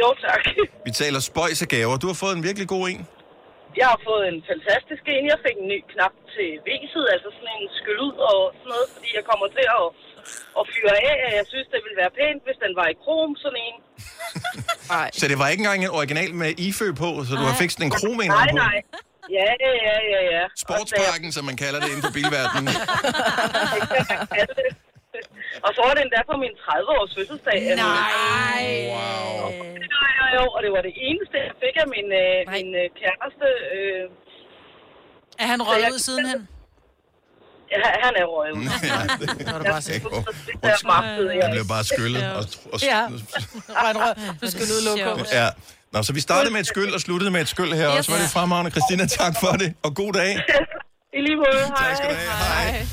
Speaker 15: Jo, tak.
Speaker 1: Vi taler spøjs af gaver. Du har fået en virkelig god en.
Speaker 15: Jeg har fået en fantastisk en. Jeg fik en ny knap til væset, altså sådan en skyld ud og sådan noget, fordi jeg kommer til at, at fyre af. at Jeg synes, det ville være pænt, hvis den var i krom, sådan en.
Speaker 1: Nej. Så det var ikke engang en original med IFØ på, så du har fikset en krom en
Speaker 15: Nej,
Speaker 1: på.
Speaker 15: nej. Ja, ja, ja, ja, ja.
Speaker 1: Sportsparken, som man kalder det inden for bilverdenen.
Speaker 15: Og så var den der på min 30-års fødselsdag. Nej.
Speaker 1: Wow.
Speaker 15: Jo, jo, og det var det eneste, jeg fik af min, øh, min øh, kæreste. Øh,
Speaker 2: Er han
Speaker 15: Så
Speaker 2: røget
Speaker 15: jeg-
Speaker 2: ud sidenhen?
Speaker 15: ja, han er røget
Speaker 1: *laughs*
Speaker 15: ud.
Speaker 1: Undskyld. Jeg blev bare skyllet og, og
Speaker 2: Ja.
Speaker 1: *laughs*
Speaker 2: Røg
Speaker 15: *laughs*
Speaker 2: en rød. Du skal ud lukke på.
Speaker 1: Ja. Nå, så vi startede med et skyld og sluttede med et skyld her, og så var det fremragende.
Speaker 2: *laughs*
Speaker 1: Christina, tak for det, og god dag.
Speaker 15: I lige måde. Hej.
Speaker 1: Tak skal du have. Hej.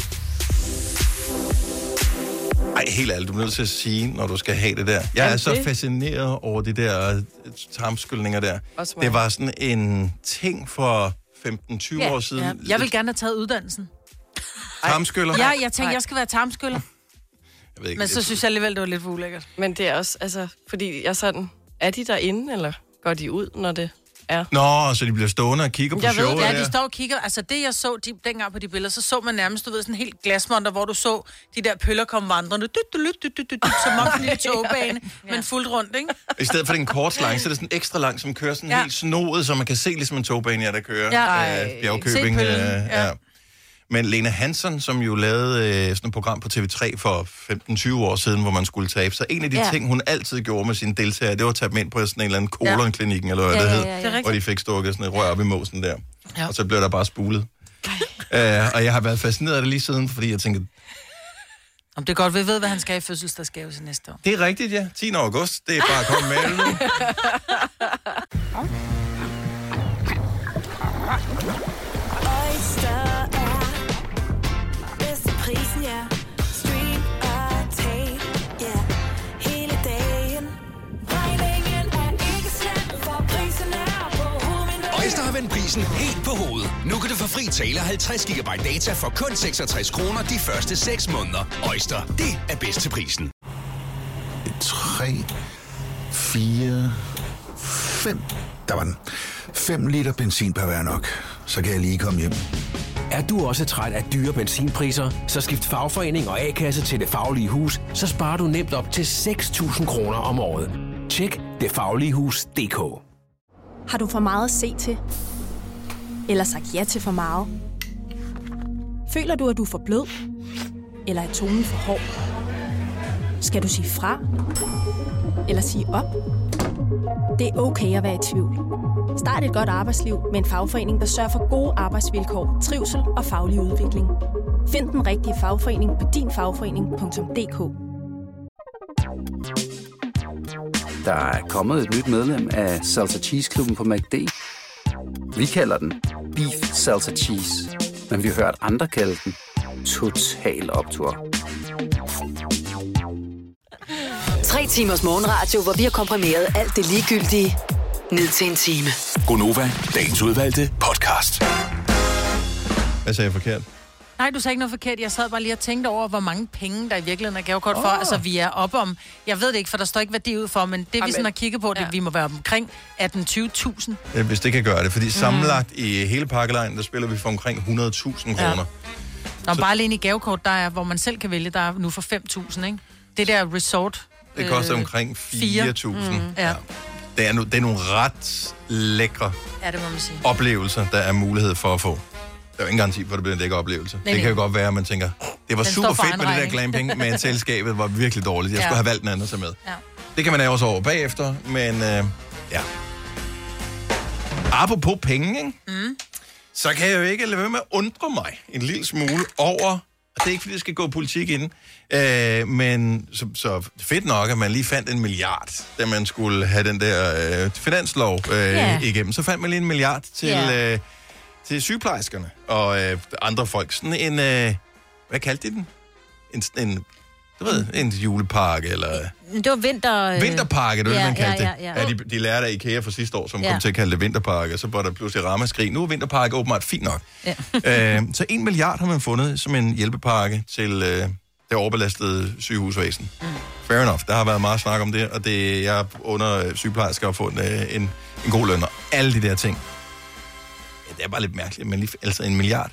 Speaker 1: Ej, helt ærligt, Altså, du er nødt til at sige, når du skal have det der. Jeg er
Speaker 6: Jamen,
Speaker 1: så
Speaker 6: det-
Speaker 1: fascineret over de der øh, tarmskyldninger der.
Speaker 6: Også mig.
Speaker 1: Det var sådan en ting for 15-20 år siden.
Speaker 2: Ja. Jeg vil gerne have taget uddannelsen.
Speaker 1: Tarmskyller?
Speaker 2: Ja, jeg tænkte, jeg skal være tarmskyller.
Speaker 1: Jeg ved ikke,
Speaker 2: Men så synes jeg alligevel, det var lidt for ulækkert.
Speaker 6: Men det er også, altså, fordi jeg er sådan, er de derinde, eller går de ud, når det er?
Speaker 1: Nå, så de bliver stående og kigger på
Speaker 2: Jeg ved
Speaker 1: showet
Speaker 2: det, ja,
Speaker 1: der.
Speaker 2: de står og kigger. Altså det, jeg så de, dengang på de billeder, så så man nærmest, du ved, sådan en helt glasmonter, hvor du så de der pøller komme vandrende, dyt, dyt, dyt, dyt, dyt, dyt, som om sådan en togbane, men fuldt rundt, ikke?
Speaker 1: I stedet for den kort slange, så er det sådan en ekstra lang, som kører sådan
Speaker 2: Ja.
Speaker 1: ja. helt snoet, så man kan se ligesom en togbane, ja, der kører
Speaker 2: Ja.
Speaker 1: ja.
Speaker 2: Ej.
Speaker 1: øh, bjergkøbing.
Speaker 2: Se
Speaker 1: Øh,
Speaker 2: pøllen,
Speaker 1: ja. Men Lena Hansen, som jo lavede øh, sådan et program på TV3 for 15-20 år siden, hvor man skulle tabe sig. En af de
Speaker 2: Ja.
Speaker 1: ja. ting, hun altid gjorde med sine deltagere, det var at tage dem ind på sådan en eller anden
Speaker 2: Ja.
Speaker 1: kolonklinikken, eller hvad
Speaker 2: Ja,
Speaker 1: det
Speaker 2: ja,
Speaker 1: hed,
Speaker 2: ja, ja. Det er rigtigt.
Speaker 1: hvor de fik stukket sådan et rør op i måsen der.
Speaker 2: Ja.
Speaker 1: Ja. Og så blev der bare spulet. Øh, og jeg har været fascineret af det lige siden, fordi jeg tænker,
Speaker 2: Om det er godt, vi ved, hvad han skal have i fødselsdagsgave til næste år.
Speaker 1: det er rigtigt, ja. 10. august, det er bare at komme med det nu.
Speaker 2: *laughs*
Speaker 9: Oyster er bedst til prisen, ja. Stream og tag, ja. Hele dagen. Regningen er ikke slem, for prisen er på
Speaker 7: Øjster har vendt prisen helt på hovedet. Nu kan du få fri tale 50 GB data for kun 66 kroner de første 6 måneder. Øjster, det er bedst til prisen.
Speaker 11: 3, 4, 5. Der var den. 5 liter benzin per hver nok. Så kan jeg lige komme hjem.
Speaker 17: Er du også træt af dyre benzinpriser, så skift fagforening og A-kasse til Det Faglige Hus, så sparer du nemt op til 6.000 kroner om året. Tjek detfagligehus.dk
Speaker 18: Har du for meget at se til? Eller sagt ja til for meget? Føler du, at du er for blød? Eller er tonen for hård? Skal du sige fra? Eller sige op? Det er okay at være i tvivl. Start et godt arbejdsliv med en fagforening, der sørger for gode arbejdsvilkår, trivsel og faglig udvikling. Find den rigtige fagforening på dinfagforening.dk.
Speaker 19: Der er kommet et nyt medlem af Salsa Cheese Klubben på MACD. Vi kalder den Beef Salsa Cheese, men vi har hørt andre kalde den Total Optor.
Speaker 8: Tre timers morgenradio, hvor vi har komprimeret alt det ligegyldige ned til en time.
Speaker 7: Gonova, dagens udvalgte podcast.
Speaker 1: Hvad sagde jeg forkert?
Speaker 2: Nej, du sagde ikke noget forkert. Jeg sad bare lige og tænkte over, hvor mange penge, der i virkeligheden er gavekort for. Altså, vi er op om... Jeg ved det ikke, for der står ikke værdi ud for, men det vi
Speaker 1: Amen.
Speaker 2: sådan har kigget på, det vi må være omkring 18-20.000.
Speaker 1: Øh, Hvis det kan gøre det,
Speaker 2: Mhm.
Speaker 1: fordi sammenlagt i hele pakkelejen, der spiller vi for omkring 100.000 kroner.
Speaker 2: Nå, bare alene i gavekort, der er, hvor man selv kan vælge, der er nu for 5.000, ikke? Det der resort... øh,
Speaker 1: Det koster omkring
Speaker 2: fire.
Speaker 1: 4.000.
Speaker 2: Mm, ja.
Speaker 1: Det er, nu, det er nogle ret lækre
Speaker 2: ja, det må man sige.
Speaker 1: oplevelser, der er mulighed for at få. Der er jo ingen garanti for, at det bliver en lækker oplevelse.
Speaker 2: Nej,
Speaker 1: det kan jo
Speaker 2: nej.
Speaker 1: godt være, at man tænker, det var
Speaker 2: Den
Speaker 1: super
Speaker 2: står for
Speaker 1: fedt med det der
Speaker 2: egen regning.
Speaker 1: glamping,
Speaker 2: *laughs*
Speaker 1: men selskabet var virkelig dårligt. Jeg
Speaker 2: Ja.
Speaker 1: skulle have valgt en anden at tage med.
Speaker 2: Ja.
Speaker 1: Det kan man jo også over bagefter, men øh, ja. Apropos penge, ikke?
Speaker 2: Mm.
Speaker 1: så kan jeg jo ikke lade være med at undre mig en lille smule over, og det er ikke, fordi jeg skal gå politik ind, øh, men så, så fedt nok, at man lige fandt en milliard, da man skulle have den der øh, finanslov øh,
Speaker 20: Ja.
Speaker 1: igennem. Så fandt man lige en milliard til,
Speaker 20: Ja.
Speaker 1: øh, til sygeplejerskerne og øh, andre folk. Sådan en, øh, hvad kaldte de den? En, en, du ved, en julepakke eller...
Speaker 5: Men Det var vinter... øh,
Speaker 1: Vinterpakke, det var
Speaker 5: ja,
Speaker 1: det, man kaldte
Speaker 5: ja, ja, ja.
Speaker 1: det. Ja, de, de lærte af IKEA fra sidste år, som
Speaker 5: Ja.
Speaker 1: kom til at kalde det vinterpakke, og så var der pludselig ramaskrig. Nu er vinterpakke åbenbart fint
Speaker 5: *laughs*
Speaker 1: nok.
Speaker 5: Ja.
Speaker 1: øh, så en milliard har man fundet som en hjælpepakke til øh, det overbelastede sygehusvæsen. Mm. Fair enough. Der har været meget snak om det, og det jeg under øh, sygeplejersker har fundet øh, en, en god løn og alle de der ting. Ja, det er bare lidt mærkeligt, men lige, altså en milliard.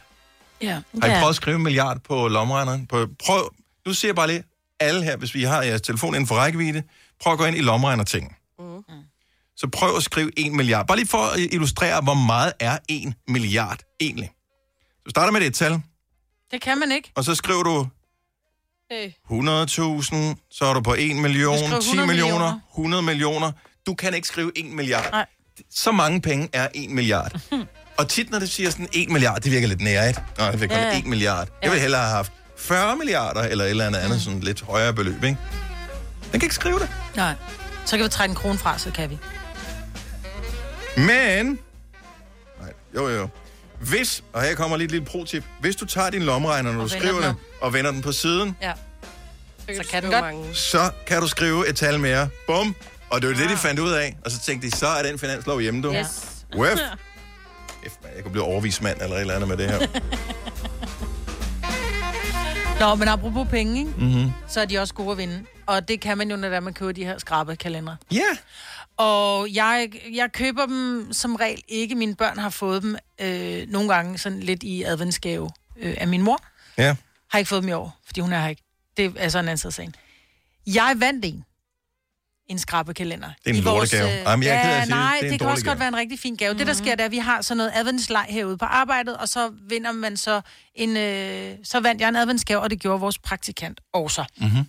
Speaker 2: Ja.
Speaker 1: Har I prøvet at skrive en milliard på lommeregneren? På, prøv, nu ser jeg bare lige alle her, hvis vi har jeres telefon inden for rækkevidde. Prøv at gå ind i lommeregner-ting. Mm. Så prøv at skrive en milliard. Bare lige for at illustrere, hvor meget er en milliard egentlig. Så starter med det tal,
Speaker 2: Det kan man ikke.
Speaker 1: og så skriver du
Speaker 2: Øh.
Speaker 1: 100.000, så er du på 1 million,
Speaker 2: Jeg skriver
Speaker 1: 10
Speaker 2: 100
Speaker 1: millioner,
Speaker 2: millioner.
Speaker 1: 100 millioner. Du kan ikke skrive 1 milliard.
Speaker 2: Nej.
Speaker 1: Så mange penge er
Speaker 2: *laughs*
Speaker 1: 1 milliard. Og tit, når det siger sådan 1 milliard, det virker lidt nærigt. Nå, jeg fik kun
Speaker 20: Ja, ja.
Speaker 1: 1 milliard. Jeg ville hellere have haft 40 milliarder, eller et eller andet,
Speaker 2: Mm.
Speaker 1: andet sådan lidt højere beløb, ikke? Den kan ikke skrive det.
Speaker 2: Nej. Så kan vi trække en krone fra, så kan vi.
Speaker 1: Men... Nej, jo, jo, jo. Hvis, og her kommer lige et lille pro-tip. Hvis du tager din lommeregner, når du
Speaker 2: vender
Speaker 1: skriver
Speaker 2: den
Speaker 1: den, og vender den på siden,
Speaker 2: Ja. Så kan den godt.
Speaker 1: så kan du skrive et tal mere. Bum! Og det var det, de fandt ud af. Og så tænkte de, så er den finanslov hjemme, du.
Speaker 2: Ah. Yes. *laughs*
Speaker 1: Wef. F, man, jeg kunne blive overvismand eller et eller andet med det her.
Speaker 2: Nå, men apropos penge, ikke?
Speaker 1: Mm-hmm.
Speaker 2: så er de også gode at vinde. Og det kan man jo, når det er, man køber de her skrabekalendere.
Speaker 1: Ja.
Speaker 2: Og jeg, jeg køber dem som regel ikke. Mine børn har fået dem øh, nogle gange sådan lidt i adventsgave øh, af min mor.
Speaker 1: Ja.
Speaker 2: Har ikke fået dem i år, fordi hun er her ikke. Det er sådan en anden side af sagen. Jeg vandt en. En skrabekalender.
Speaker 1: Det er en
Speaker 2: I vores,
Speaker 1: lortegave.
Speaker 2: øh,
Speaker 1: Jamen, jeg er ked af at
Speaker 2: ja,
Speaker 1: sige det. Det er
Speaker 2: nej,
Speaker 1: en
Speaker 2: det, det kan
Speaker 1: dårlig
Speaker 2: også
Speaker 1: gave.
Speaker 2: godt være en rigtig fin gave. Mm-hmm. Det, der
Speaker 5: Mhm.
Speaker 2: sker, det er, at vi har sådan noget adventslej herude på arbejdet, og så vinder man så en... Øh, så vandt jeg en adventsgave, og det gjorde vores praktikant også.
Speaker 1: Mhm.
Speaker 9: Mm-hmm.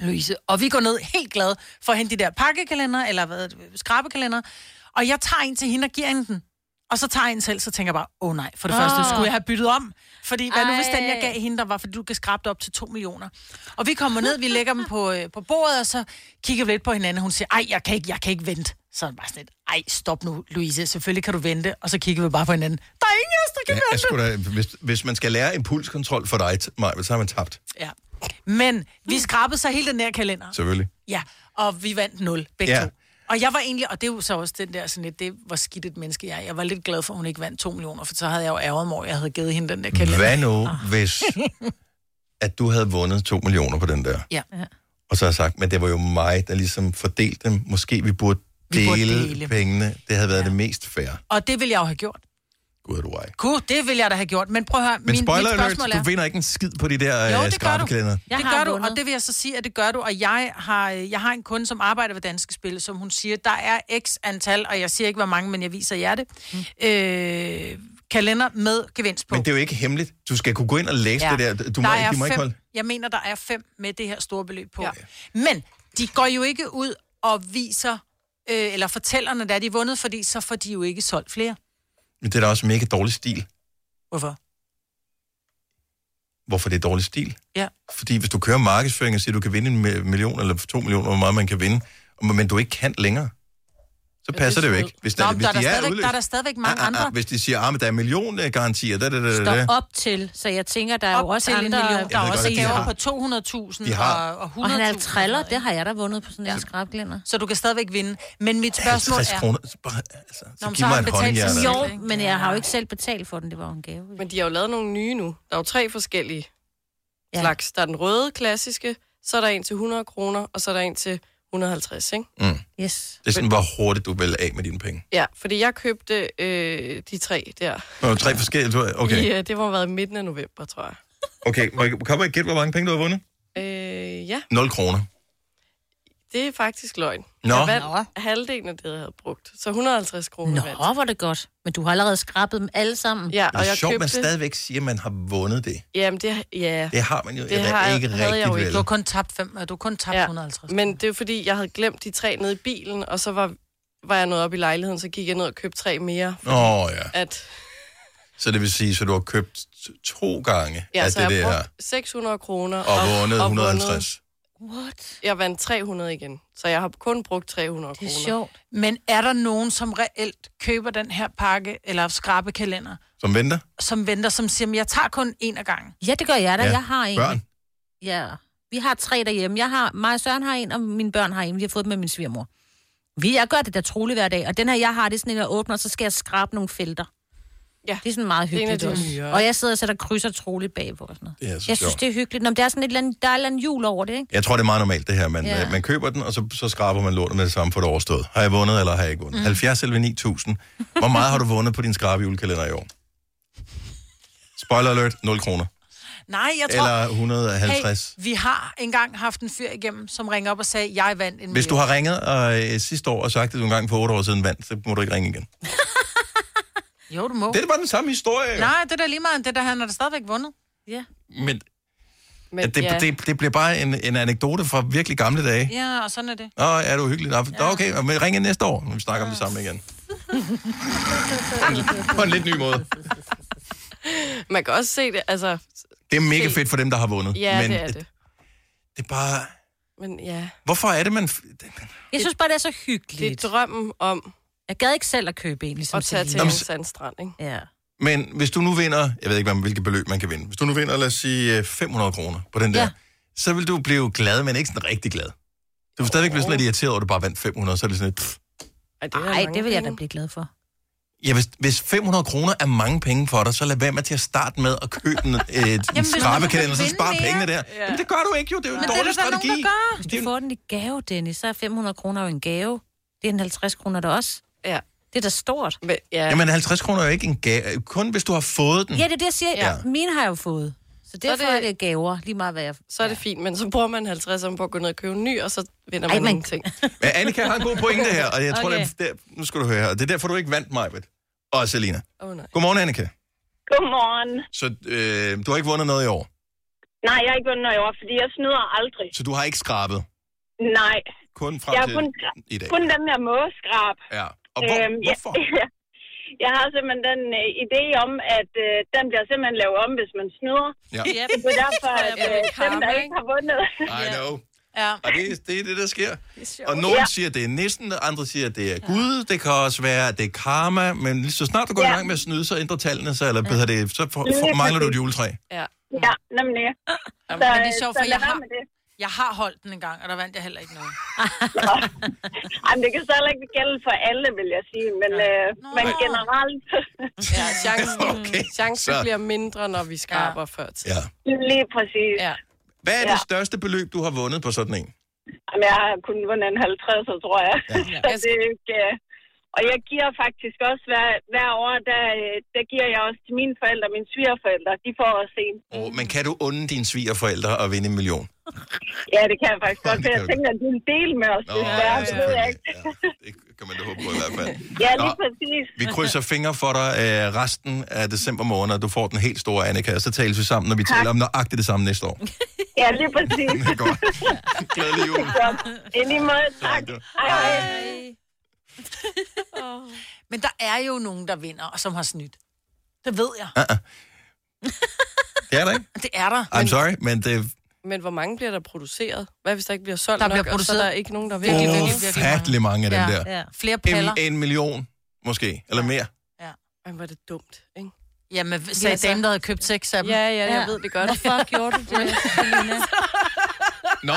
Speaker 2: Louise. Og vi går ned helt glade for at hente de der pakkekalender, eller hvad, skrabekalender. Og jeg tager en til hende og giver hende den. Og så tager jeg en selv, så tænker jeg bare, åh oh, nej, for det
Speaker 5: Åh.
Speaker 2: oh. første skulle jeg have byttet om. Fordi hvad nu hvis
Speaker 5: Ah. Ej.
Speaker 2: den, jeg gav hende, der var, fordi du kan skrabe det op til 2 millioner. Og vi kommer ned, vi lægger dem på, øh, på bordet, og så kigger vi lidt på hinanden. Hun siger, ej, jeg kan ikke, jeg kan ikke vente. Så er det bare sådan lidt, ej, stop nu, Louise, selvfølgelig kan du vente. Og så kigger vi bare på hinanden. Der er ingen af os, der kan
Speaker 1: Ja, jeg skulle da, hvis, hvis man skal lære impulskontrol for dig, t- Maja, så har man tabt,
Speaker 2: Ja. Men vi skrabede så hele den her kalender.
Speaker 1: selvfølgelig.
Speaker 2: Ja, og vi vandt 0, Ah. begge
Speaker 1: Ja.
Speaker 2: ja. to. Og jeg var egentlig, og det er jo så også den der sådan lidt, det var skidt et menneske jeg er. Jeg var lidt glad for, at hun ikke vandt 2 millioner, for så havde jeg jo ærget mig, over, at jeg havde givet hende den der kalender. Ah.
Speaker 1: Hvad nu, hvis at du havde vundet 2 millioner på den der?
Speaker 2: *laughs* ja.
Speaker 1: Og så har jeg sagt, men det var jo mig, der ligesom fordelte dem. Måske vi burde
Speaker 2: Vi
Speaker 1: dele,
Speaker 2: burde
Speaker 1: dele.
Speaker 2: dele.
Speaker 1: pengene. Det havde været ja. det mest fair.
Speaker 2: Og det ville jeg jo have gjort.
Speaker 1: Gud, du ej.
Speaker 2: Gud, det ville jeg da have gjort. Men prøv at høre,
Speaker 1: Men
Speaker 2: min,
Speaker 1: spoiler
Speaker 2: mit
Speaker 1: alert,
Speaker 2: spørgsmål er...
Speaker 1: du vinder ikke en skid på de der
Speaker 2: Jo,
Speaker 1: øh,
Speaker 2: det gør du.
Speaker 1: skrabekalender.
Speaker 2: Det gør du, og det vil jeg så sige, at det gør du. Og jeg har, jeg har en kunde, som arbejder ved Danske Spil, som hun siger, der er x antal, og jeg siger ikke, hvor mange, men jeg viser jer det, øh, kalender med gevinst på.
Speaker 1: Men det er jo ikke hemmeligt. Du skal kunne gå ind og læse ja. det der. Du må,
Speaker 2: Der
Speaker 1: ikke,
Speaker 2: er
Speaker 1: de må ikke
Speaker 2: fem-
Speaker 1: holde.
Speaker 2: Jeg mener, der er fem med det her store beløb på. Ja. Men de går jo ikke ud og viser, øh, eller fortæller, når det er, de er vundet, fordi så får de jo ikke solgt flere.
Speaker 1: Men det er da også mega dårlig stil.
Speaker 2: Hvorfor?
Speaker 1: Hvorfor det er dårlig stil?
Speaker 2: Ja.
Speaker 1: Fordi hvis du kører markedsføring og siger, at du kan vinde en mi- million eller to millioner, hvor meget man kan vinde, og- men du ikke kan længere, så passer det jo ikke. Hvis
Speaker 2: Nå,
Speaker 1: der,
Speaker 2: men
Speaker 1: hvis
Speaker 2: der, er
Speaker 1: de
Speaker 2: der, stadigvæk,
Speaker 1: udløst-
Speaker 2: der er der stadigvæk mange
Speaker 1: Ah, ah, ah,
Speaker 2: andre.
Speaker 1: Hvis de siger, at ah, men der er milliongarantier, da, Altså, da, da, da, da.
Speaker 5: Står op til, så jeg tænker, der er jo også
Speaker 2: til en
Speaker 5: andre...
Speaker 2: million. Der
Speaker 1: Jeg er ved også godt, at de gaver har- på
Speaker 2: 200.000
Speaker 1: De har- og- og
Speaker 5: Og han er triller, det har jeg da vundet på sådan en ja. skrabglænder.
Speaker 2: Så du kan stadigvæk vinde. Men mit spørgsmål
Speaker 1: 50
Speaker 2: er...
Speaker 1: kroner. Så bare, altså, så
Speaker 2: men
Speaker 1: giv
Speaker 2: så har
Speaker 1: mig
Speaker 2: han
Speaker 1: et
Speaker 2: betalt
Speaker 1: håndjern. altså.
Speaker 2: sin-
Speaker 5: Jo, men jeg har jo ikke selv betalt for den, det var jo en gave.
Speaker 6: Men de har jo lavet nogle nye nu. Der er jo tre forskellige ja. slags. Der er den røde klassiske, så er der en til 100 kroner, og så er der en til 150, ikke?
Speaker 1: Mm.
Speaker 5: Yes.
Speaker 1: Det er sådan, hvor hurtigt du vil af med dine penge.
Speaker 6: Ja, fordi jeg købte øh, de tre der.
Speaker 1: Nå, tre forskellige. du- Okay,
Speaker 6: I, øh, det må have været i midten af november, tror jeg.
Speaker 1: okay. Må jeg, kan man ikke gætte, hvor mange penge du har vundet?
Speaker 6: Øh, ja,
Speaker 1: 0 kroner.
Speaker 6: det er faktisk løgn.
Speaker 1: Nå.
Speaker 6: Jeg vandt halvdelen af det, jeg havde brugt. Så 150 kroner Nå. vandt.
Speaker 5: Åh, hvor er det godt. Men du har allerede skrabet dem alle sammen.
Speaker 6: Ja,
Speaker 1: Det er sjovt, man stadigvæk siger, at man har vundet det.
Speaker 6: Jamen, det, ja.
Speaker 1: Det har man jo eller ikke rigtigt, vel?
Speaker 2: Du har kun tabt, fem, du har kun tabt ja. 150.
Speaker 6: Men det er jo fordi, jeg havde glemt de tre nede i bilen, og så var, var jeg nået op i lejligheden, så gik jeg ned og købte tre mere.
Speaker 1: Åh, oh, ja.
Speaker 6: At,
Speaker 1: Så det vil sige, så du har købt to gange ja,
Speaker 6: ja,
Speaker 1: af
Speaker 6: så
Speaker 1: det
Speaker 6: jeg
Speaker 1: der,
Speaker 6: brugte 600 kroner.
Speaker 1: og vundet 150.
Speaker 6: What? Jeg vandt 300 igen, så jeg har kun brugt 300 kroner.
Speaker 2: Men er
Speaker 1: *laughs*
Speaker 2: der nogen, som reelt køber den her pakke, eller skrabekalender,
Speaker 1: Som venter?
Speaker 2: som venter, som siger, "Men jeg tager kun en af gangen?
Speaker 5: Ja, det gør jeg da. Ja. Jeg har en.
Speaker 1: Børn?
Speaker 5: Ja, vi har tre derhjemme. Jeg har, mig og Søren har en, og mine børn har en. Vi har fået dem med min svigermor. Vi, jeg gør det der trolig hver dag, og den her, jeg har, det er sådan en, jeg åbner, og så skal jeg skrabe nogle felter.
Speaker 6: Ja.
Speaker 5: Det er sådan meget
Speaker 6: Det er en af
Speaker 5: hyggeligt
Speaker 6: de
Speaker 5: også.
Speaker 6: nyere.
Speaker 5: Og jeg sidder og sætter krydser troligt bagpå og sådan noget.
Speaker 1: Det er så
Speaker 5: jeg synes,
Speaker 1: sjovt.
Speaker 5: det er hyggeligt. Nå, men der er sådan et eller andet, der er et eller andet jul over det, ikke?
Speaker 1: Jeg tror, det er meget normalt det her. Man,
Speaker 5: Ja.
Speaker 1: ja. man køber den, og så, så skraber man lånet med det samme for det overstået. Har jeg vundet, eller har jeg ikke vundet?
Speaker 5: Mm.
Speaker 1: Mm. 70 eller 9000. Hvor meget har du vundet på din skrabe julekalender i år? Spoiler alert, 0 kroner.
Speaker 2: Nej, jeg tror...
Speaker 1: Eller 150.
Speaker 2: Hey, vi har engang haft en fyr igennem, som ringer op og sagde, jeg vandt en
Speaker 1: Hvis du
Speaker 2: million."
Speaker 1: har ringet øh, øh, sidste år og sagt, at du engang for 8 år siden vandt, så må du ikke ringe igen.
Speaker 2: Jo, du må.
Speaker 1: Det var den samme historie. jo.
Speaker 2: Nej, det er da lige meget, det der han har da stadigvæk vundet.
Speaker 5: Ja.
Speaker 1: Men,
Speaker 6: Men
Speaker 1: at det, ja. det, det bliver bare en, en anekdote fra virkelig gamle dage.
Speaker 2: Ja, og sådan er det.
Speaker 1: Nå, er du hyggelig? Nå, ja. okay, og men ringe næste år, når vi snakker om det samme igen. På en lidt ny måde.
Speaker 6: *laughs* Man kan også se det, altså...
Speaker 1: Det er mega fedt for dem, der har vundet.
Speaker 6: Ja,
Speaker 1: men
Speaker 6: det er det.
Speaker 1: det er bare...
Speaker 6: Men ja...
Speaker 1: Hvorfor er det, man... f-
Speaker 5: Jeg synes bare, det er så hyggeligt.
Speaker 6: Det er drømmen om...
Speaker 5: Jeg gad ikke selv at købe en, ligesom
Speaker 6: Og tage til
Speaker 5: Celine.
Speaker 6: en sandstrand, ikke?
Speaker 5: Ja.
Speaker 1: Men hvis du nu vinder... Jeg ved ikke, hvad- hvilket beløb man kan vinde. Hvis du nu vinder, lad os sige, øh, 500 kroner på den der, ja. så vil du blive glad, men ikke sådan rigtig glad. Du vil stadigvæk blive sådan lidt irriteret over, at du bare vandt 500, så er det sådan lidt... Pff.
Speaker 5: Nej, det, vil jeg da blive glad for.
Speaker 1: Ja, hvis, hvis 500 kroner er mange penge for dig, så lad være med til at starte med at købe
Speaker 5: *laughs*
Speaker 1: en, et, en
Speaker 5: hvis man
Speaker 1: skrabekalender,
Speaker 5: kan
Speaker 1: så
Speaker 5: vinde
Speaker 1: spar
Speaker 5: mere.
Speaker 1: pengene der.
Speaker 5: Ja.
Speaker 1: Ja. Jamen, det gør du ikke jo, det er jo en
Speaker 5: Men
Speaker 1: dårlig
Speaker 5: der
Speaker 1: strategi. Altså,
Speaker 5: Nogen, der gør. Hvis du får den i gave, Dennis, så er 500 kroner jo en gave. Det er en 50 kroner der også.
Speaker 6: Ja.
Speaker 5: Det er da stort.
Speaker 6: Men, ja.
Speaker 1: Jamen, 50 kroner er jo ikke en gave, kun hvis du har fået den.
Speaker 5: Ja, det er det, jeg siger. Ja.
Speaker 1: Ja.
Speaker 5: Mine har jeg jo fået. Så derfor så
Speaker 6: det-
Speaker 5: det... er det gaver, lige meget hvad jeg...
Speaker 6: Så er det fint, men så bruger man 50 om på at gå ned og købe en ny, og så vinder
Speaker 5: Ej,
Speaker 6: man, Ej,
Speaker 5: man-
Speaker 6: man... ingenting.
Speaker 1: Men Annika har en god pointe her, og jeg tror,
Speaker 6: Okay.
Speaker 1: okay. det er, der- nu skal du høre her. Det er derfor, du ikke vandt mig, Og Selina.
Speaker 6: Åh, nej.
Speaker 1: Godmorgen, Annika.
Speaker 15: Godmorgen.
Speaker 1: Så øh, du har ikke vundet noget i år,
Speaker 15: Nej, jeg har ikke vundet noget i år, fordi jeg snyder aldrig.
Speaker 1: så du har ikke skrabet.
Speaker 15: Nej.
Speaker 1: Kun frem
Speaker 15: jeg har
Speaker 1: til
Speaker 15: kun,
Speaker 1: i dag.
Speaker 15: kun den der måskrab.
Speaker 1: Ja. Og hvor, øhm, hvorfor?
Speaker 15: Jeg, *laughs* jeg har simpelthen den øh, idé om, at øh, den bliver simpelthen lavet om, hvis man snyder.
Speaker 1: Ja. Yep.
Speaker 2: *laughs*
Speaker 15: Det er derfor,
Speaker 9: Det tror jeg
Speaker 15: at
Speaker 9: på,
Speaker 15: øh,
Speaker 9: det er
Speaker 15: dem, der
Speaker 9: karma,
Speaker 15: ikke har vundet...
Speaker 1: I know.
Speaker 2: Ja.
Speaker 1: Og det, det er det, der sker.
Speaker 15: Det
Speaker 1: Og nogen ja. siger, at det er nissen, og andre siger, at det er Gud. Det kan også være, at det er karma. Men lige så snart du går
Speaker 15: Ja.
Speaker 1: i gang med at snyde, så ændrer tallene sig, eller bedre det, så for, for, mangler du et juletræ.
Speaker 6: Ja.
Speaker 15: Ja, *laughs* nemlig.
Speaker 2: Jamen, men det er
Speaker 15: øh,
Speaker 2: sjovt,
Speaker 15: så
Speaker 2: for
Speaker 15: lad
Speaker 2: jeg
Speaker 15: være
Speaker 2: har,
Speaker 15: med det.
Speaker 2: jeg har holdt den en gang, og der vandt jeg heller ikke noget.
Speaker 15: Jamen, det kan så heller ikke gælde for alle, vil jeg sige, men, øh, men
Speaker 6: Nej.
Speaker 15: generelt
Speaker 6: Ja, chancen, okay, chancen
Speaker 1: så-
Speaker 6: bliver mindre, når vi skraber ja. før tid.
Speaker 1: Ja.
Speaker 15: lige præcis.
Speaker 6: Ja.
Speaker 1: Hvad er ja.
Speaker 15: Ja.
Speaker 1: det største beløb, du har vundet på sådan en?
Speaker 15: Jamen, jeg har kun vundet en 50, er, tror jeg. Ja. *laughs* så det er ikke, øh, og jeg giver faktisk også hver, hver år, der, øh, der giver jeg også til mine forældre, mine svigerforældre, de får også en.
Speaker 1: Og, men kan du unde dine svigerforældre at vinde en million?
Speaker 15: Ja, det kan jeg faktisk godt,
Speaker 1: det
Speaker 15: for
Speaker 1: kan
Speaker 15: jeg
Speaker 1: du
Speaker 15: tænker, at de vil dele med os,
Speaker 1: Nå,
Speaker 15: desværre,
Speaker 1: ja,
Speaker 15: det ved jeg ikke. *laughs*
Speaker 1: Kan man da håbe på i hvert fald.
Speaker 15: Ja,
Speaker 1: Nå,
Speaker 15: lige præcis.
Speaker 1: vi
Speaker 15: *laughs*
Speaker 1: krydser fingre for dig øh, resten af december måned, og du får den helt store, Annika. og Så tales vi sammen, når vi
Speaker 15: Tak.
Speaker 1: taler om nøjagtigt det samme næste år.
Speaker 14: Ja, lige præcis.
Speaker 1: Godt. Glædelig
Speaker 15: *laughs*
Speaker 1: jul.
Speaker 14: I lige måde, tak. Hej.
Speaker 6: *laughs*
Speaker 2: Men der er jo nogen, der vinder, og som har snydt. Det ved jeg.
Speaker 1: Det er
Speaker 15: *laughs*
Speaker 1: der ikke.
Speaker 2: Det er der.
Speaker 1: I'm sorry, men det er
Speaker 6: Men hvor mange bliver der produceret? Hvad hvis der ikke bliver solgt
Speaker 2: Der
Speaker 6: nok,
Speaker 2: bliver
Speaker 6: og så
Speaker 2: produceret
Speaker 6: er der ikke nogen, der vil?
Speaker 2: virkelig,
Speaker 1: ufattelig mange af dem
Speaker 6: Ja,
Speaker 1: der.
Speaker 6: ja.
Speaker 2: Flere paller.
Speaker 1: En, en million, måske, eller mere.
Speaker 6: Ej, hvor er det dumt, ikke?
Speaker 2: Ja, men sagde damen, der havde købt seks af dem.
Speaker 6: Ja, ja, jeg ved det godt.
Speaker 5: Hvorfor gjorde du det, Selina?
Speaker 1: Nå,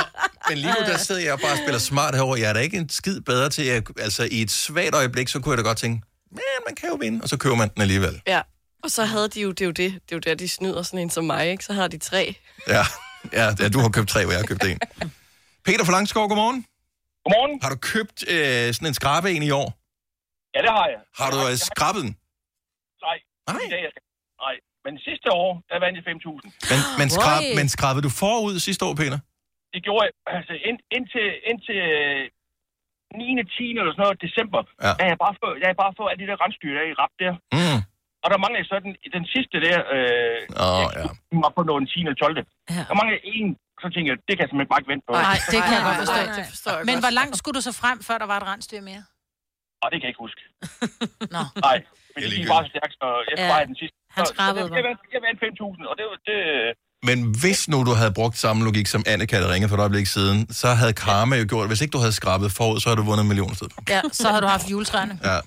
Speaker 1: men lige nu der sidder jeg bare og spiller smart herover. Jeg er da ikke en skid bedre til, at, altså i et svagt øjeblik, så kunne jeg da godt tænke, men man kan jo vinde, og så køber man den alligevel.
Speaker 6: Ja, og så havde de jo, det er jo det, det er jo der, de snyder sådan en som mig, ikke? Så har de tre.
Speaker 1: Ja, ja, ja du har købt tre, og jeg har købt en. Peter fra Langskov, godmorgen.
Speaker 20: Godmorgen.
Speaker 1: Har du købt øh, sådan en skrabe en i år?
Speaker 20: Ja, det har jeg.
Speaker 1: Har du øh, skrabet den?
Speaker 20: Nej. Nej. I dag, jeg skal... Nej. Men sidste år, der vandt jeg 5.000.
Speaker 1: Men,
Speaker 2: Ah,
Speaker 1: men, skrab,
Speaker 20: Oj.
Speaker 1: men skrabede du forud sidste år, Peter?
Speaker 20: Det gjorde jeg altså, ind, indtil, indtil øh, 9. 10. eller sådan noget, december.
Speaker 1: Ja.
Speaker 20: Der er jeg bare for, der er jeg bare for, at det der rensdyr der i rap der.
Speaker 1: Mm.
Speaker 20: Og der mangler jeg så den, den sidste der, øh,
Speaker 1: oh,
Speaker 20: ja. var på noget den 10. og 12. Ja. Der mangler jeg en, så tænker jeg, det kan jeg simpelthen bare ikke vente på.
Speaker 2: Nej, det kan jeg godt forstå.
Speaker 20: Nej.
Speaker 2: Det forstår jeg Men hvor langt skulle du så frem, før der var et rensdyr mere?
Speaker 20: Og det kan jeg ikke
Speaker 2: *laughs*
Speaker 20: huske. Nå. Nej, men det gik bare så stærkt, så jeg skulle
Speaker 2: Ja.
Speaker 20: bare have den sidste.
Speaker 2: Han
Speaker 20: Så- så
Speaker 2: skrabede
Speaker 20: jeg- Jeg vandt, jeg vandt 5.000, og det, var- det,
Speaker 1: Men hvis nu du havde brugt samme logik, som Annika havde ringet for et øjeblik siden, så havde karma jo gjort, hvis ikke du havde skrabet forud, så havde du vundet en million i stedet. for.
Speaker 2: Ja, så havde du haft juletræerne.
Speaker 1: Ja.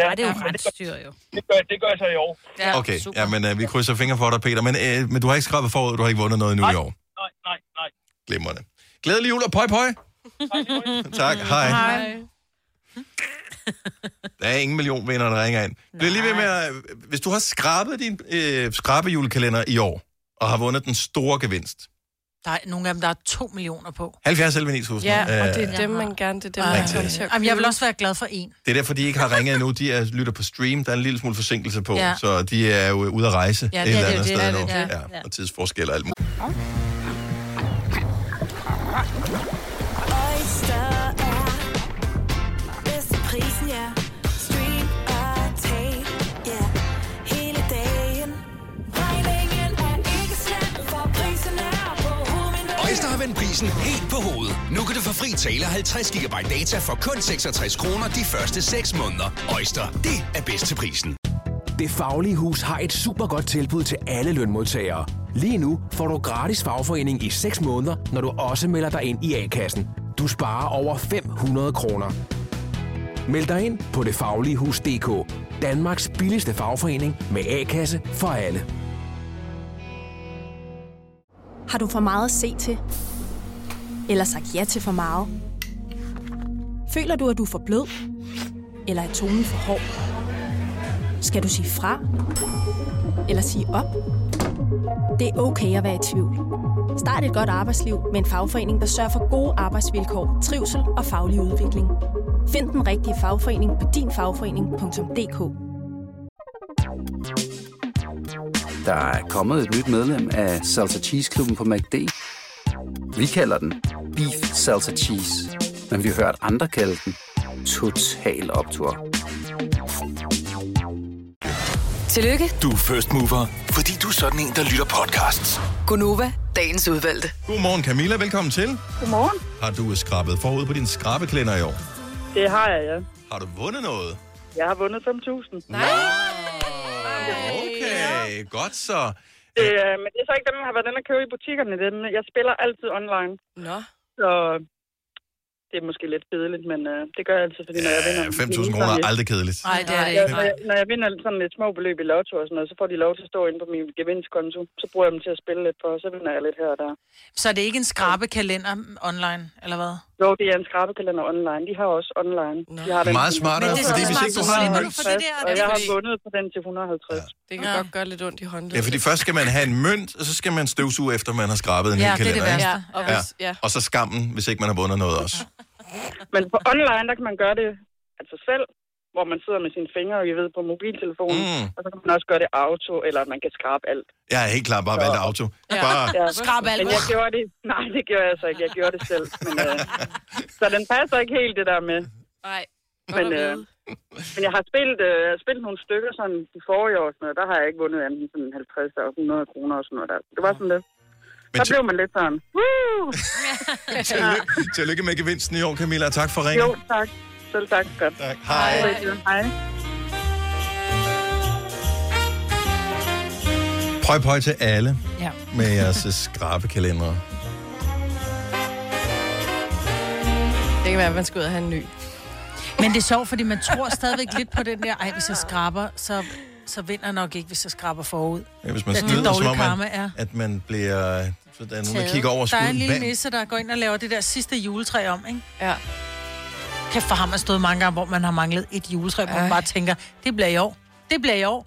Speaker 20: Ja,
Speaker 2: det er jo rensdyr, jo.
Speaker 20: det, gør, det gør jeg så i år.
Speaker 2: Ja,
Speaker 1: Okay, ja, men øh, vi krydser fingre for dig, Peter. Men, øh, men du har ikke skrabet forud, du har ikke vundet noget endnu i år.
Speaker 20: Nej, nej, nej.
Speaker 1: Glimrende. Glædelig jul og pøj pøj. Tak, hej. Der er ingen millionvinder, der ringer ind. Bliv lige ved med, at, hvis du har skrabet din øh, skrabejulekalender i år, og har vundet den store gevinst,
Speaker 2: Der er nogle af dem, der er to millioner på.
Speaker 1: 70 11 9000.
Speaker 2: Ja,
Speaker 1: øh,
Speaker 6: Og det er dem, man gerne, det er dem, man
Speaker 1: Rigtig.
Speaker 6: kommer til at
Speaker 2: Jamen, jeg vil også være glad for en.
Speaker 1: Det er derfor, de ikke har ringet endnu. De er, lytter på stream. Der er en lille smule forsinkelse på,
Speaker 2: Ja.
Speaker 1: ja. så de er jo ude at rejse
Speaker 2: Ja,
Speaker 1: ja,
Speaker 2: det
Speaker 1: et
Speaker 2: er
Speaker 1: eller
Speaker 2: det jo,
Speaker 1: andet
Speaker 2: det
Speaker 1: sted
Speaker 2: er
Speaker 1: nu.
Speaker 2: det, det er.
Speaker 1: Ja, og tidsforskel og alt muligt.
Speaker 9: Oyster er bedst til prisen, ja. Stream og tag, ja. Hele dagen. Regningen er ikke slem, for prisen er på hovedet.
Speaker 7: Øjster har vendt prisen helt på hovedet. Nu kan du få fri tale 50 GB data for kun 66 kroner de første 6 måneder. Øjster, det er bedst til prisen.
Speaker 17: Det Faglige Hus har et super godt tilbud til alle lønmodtagere. Lige nu får du gratis fagforening i 6 måneder, når du også melder dig ind i A-kassen. Du sparer over 500 kroner. Meld dig ind på detfagligehus.dk. Danmarks billigste fagforening med A-kasse for alle.
Speaker 18: Har du for meget at se til? Eller sagt ja til for meget? Føler du, at du er for blød? Eller er tonen for hård? Skal du sige fra? Eller sige op? Det er okay at være i tvivl. Start et godt arbejdsliv med en fagforening, der sørger for gode arbejdsvilkår, trivsel og faglig udvikling. Find den rigtige fagforening på dinfagforening.dk.
Speaker 19: Der er kommet et nyt medlem af Salsa Cheese Klubben på MACD. Vi kalder den Beef Salsa Cheese, men vi har hørt andre kalde den Total Optor.
Speaker 8: Tillykke,
Speaker 7: Du er first mover, fordi du er sådan en, der lytter podcasts.
Speaker 8: Gunova, dagens udvalgte.
Speaker 1: Godmorgen Camilla, velkommen til.
Speaker 21: Godmorgen.
Speaker 1: Har du øh, skrabet forud på din skrabekalender i år?
Speaker 21: Det har jeg, ja.
Speaker 1: Har du vundet noget?
Speaker 21: Jeg har vundet 5.000. Nej.
Speaker 1: Okay, godt så.
Speaker 21: Det, øh, men det er så ikke dem, jeg har været inde og købe i butikkerne. Dem. Jeg spiller altid online.
Speaker 6: Nå.
Speaker 21: Så det er måske lidt kedeligt, men øh, det gør jeg altid, fordi når jeg vinder...
Speaker 1: 5.000 kroner er aldrig kedeligt.
Speaker 21: Nej, det er det ikke. Når jeg, når jeg vinder sådan lidt små beløb i lotto og sådan noget, så får de lov til at stå inde på min gevinstkonto. Så bruger jeg dem til at spille lidt for, og så vinder jeg lidt her og der.
Speaker 2: Så er det ikke en skrabekalender online, eller hvad?
Speaker 21: Jo, det er en skrabekalender online. De har også online. De har
Speaker 1: Meget smartere, Men det er fordi så hvis smart, ikke du så har en slipper du mønt-
Speaker 21: for
Speaker 1: for
Speaker 21: det
Speaker 1: det
Speaker 21: der,
Speaker 1: der,
Speaker 21: og jeg har
Speaker 1: fordi-
Speaker 21: vundet på den til 150. Ja.
Speaker 6: Det kan godt gøre lidt ondt i håndledet.
Speaker 1: Ja, fordi først skal man have en mønt, og så skal man støvsuge efter, man har skrabet en
Speaker 21: Ja,
Speaker 1: hel
Speaker 21: det er det
Speaker 1: kalender. ikke?
Speaker 21: værste. Ja, og hvis- ja.
Speaker 1: Og så skammen, hvis ikke man har vundet noget også.
Speaker 21: Men på online, der kan man gøre det af sig selv, hvor man sidder med sine fingre, og jeg ved, på mobiltelefonen. Mm. Og så kan man også gøre det auto, eller man kan skrabe alt.
Speaker 1: Jeg er helt klart bare valgt auto. Bare,
Speaker 21: Skrab alt. Men jeg gjorde det. Nej, det gjorde jeg så ikke. Jeg gjorde det selv. Men,
Speaker 1: *laughs*
Speaker 21: øh, så den passer ikke helt, det der med.
Speaker 6: Nej.
Speaker 21: Men, øh, men jeg har spillet, øh, jeg har spillet nogle stykker sådan de forrige år, og sådan noget. der har jeg ikke vundet andet end sådan 50 og 100 kroner og sådan noget. Der. Det var sådan lidt.
Speaker 1: Men
Speaker 21: der
Speaker 1: til-
Speaker 21: blev man lidt sådan, woo!
Speaker 1: Tillykke, *laughs* tillykke med gevinsten i år, Camilla, og tak for
Speaker 21: Jo,
Speaker 1: ringen.
Speaker 21: tak. Selv tak. Godt.
Speaker 1: Tak. Hej.
Speaker 21: Hej.
Speaker 1: Prøv pøj til alle
Speaker 2: Ja.
Speaker 1: med jeres øh, skrabekalendere.
Speaker 6: Det kan være, at man skal ud og have en ny.
Speaker 2: Men det er sjovt, fordi man tror stadigvæk lidt på den der, ej, hvis jeg skraber, så, så vinder jeg nok ikke, hvis jeg skraber forud.
Speaker 1: Ja, hvis man
Speaker 2: At det er
Speaker 1: snyder,
Speaker 2: dårlig
Speaker 1: som om,
Speaker 2: karma, ja.
Speaker 1: man, at man bliver... Så der er nogen, der
Speaker 2: Taget.
Speaker 1: kigger over
Speaker 2: Der er en
Speaker 1: skuden.
Speaker 2: lille
Speaker 1: Hvad-
Speaker 2: nisse, der går ind og laver det der sidste juletræ om, ikke? Ja. Kæft, for ham har stået mange gange, hvor man har manglet et juletræ, hvor man bare tænker, det bliver i år, det bliver i år,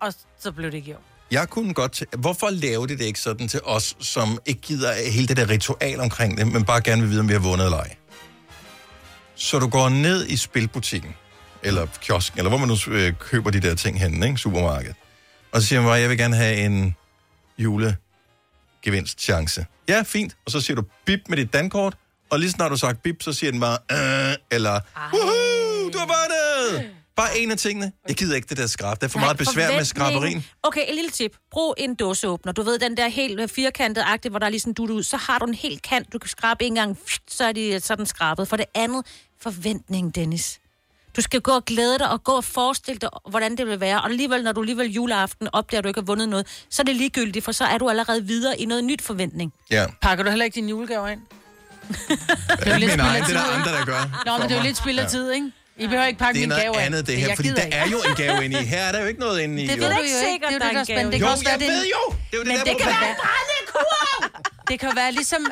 Speaker 2: og så blev det ikke i år.
Speaker 1: Jeg kunne godt... tæ- Hvorfor laver de det ikke sådan til os, som ikke gider hele det der ritual omkring det, men bare gerne vil vide, om vi har vundet eller ej? Så du går ned i spilbutikken, eller kiosken, eller hvor man nu øh, køber de der ting henne, ikke? Supermarkedet. Og så siger man bare, jeg vil gerne have en julegevinstchance. Ja, fint. Og så siger du bip med dit dankort, og lige snart du har sagt bip, så siger den bare, øh, eller Woohoo, du har vundet! Bare en af tingene. Jeg gider ikke det der skrab. Der er for
Speaker 5: Nej,
Speaker 1: meget besvær med
Speaker 5: forventningen.
Speaker 1: skraberien.
Speaker 5: Okay, et lille tip. Brug en dåseåbner. Du ved, den der helt firkantede agte, hvor der er lige sådan en dut ud. Så har du en helt kant. Du kan skrabe en gang, Pft, så er, de, øh, så er den skrabet. For det andet, forventning, Dennis. Du skal gå og glæde dig og gå og forestille dig, hvordan det vil være. Og alligevel, når du alligevel juleaften opdager, at du ikke har vundet noget, så er det ligegyldigt, for så er du allerede videre i noget nyt forventning.
Speaker 1: Ja.
Speaker 2: Pakker du heller ikke dine julegaver ind?
Speaker 1: Det er
Speaker 2: jo lidt
Speaker 1: min egen,
Speaker 2: spild af
Speaker 1: det er der
Speaker 2: tid,
Speaker 1: andre, der gør.
Speaker 2: Nå, men det er jo lidt spild af tid, ikke? I behøver ikke pakke
Speaker 1: Det
Speaker 2: min
Speaker 1: er noget
Speaker 2: gave
Speaker 1: andet, det her, fordi der er jo en gave inde i. Her er der jo ikke noget inde i.
Speaker 2: Det
Speaker 1: jo.
Speaker 2: ved du jo ikke. Det er jo det, der er spændende. Det
Speaker 1: Jo,
Speaker 2: kan også
Speaker 1: jeg
Speaker 2: være, det er en-
Speaker 1: ved jo. Det er jo det,
Speaker 2: Men
Speaker 1: der
Speaker 2: det kan
Speaker 1: problem.
Speaker 2: være... Det kan være ligesom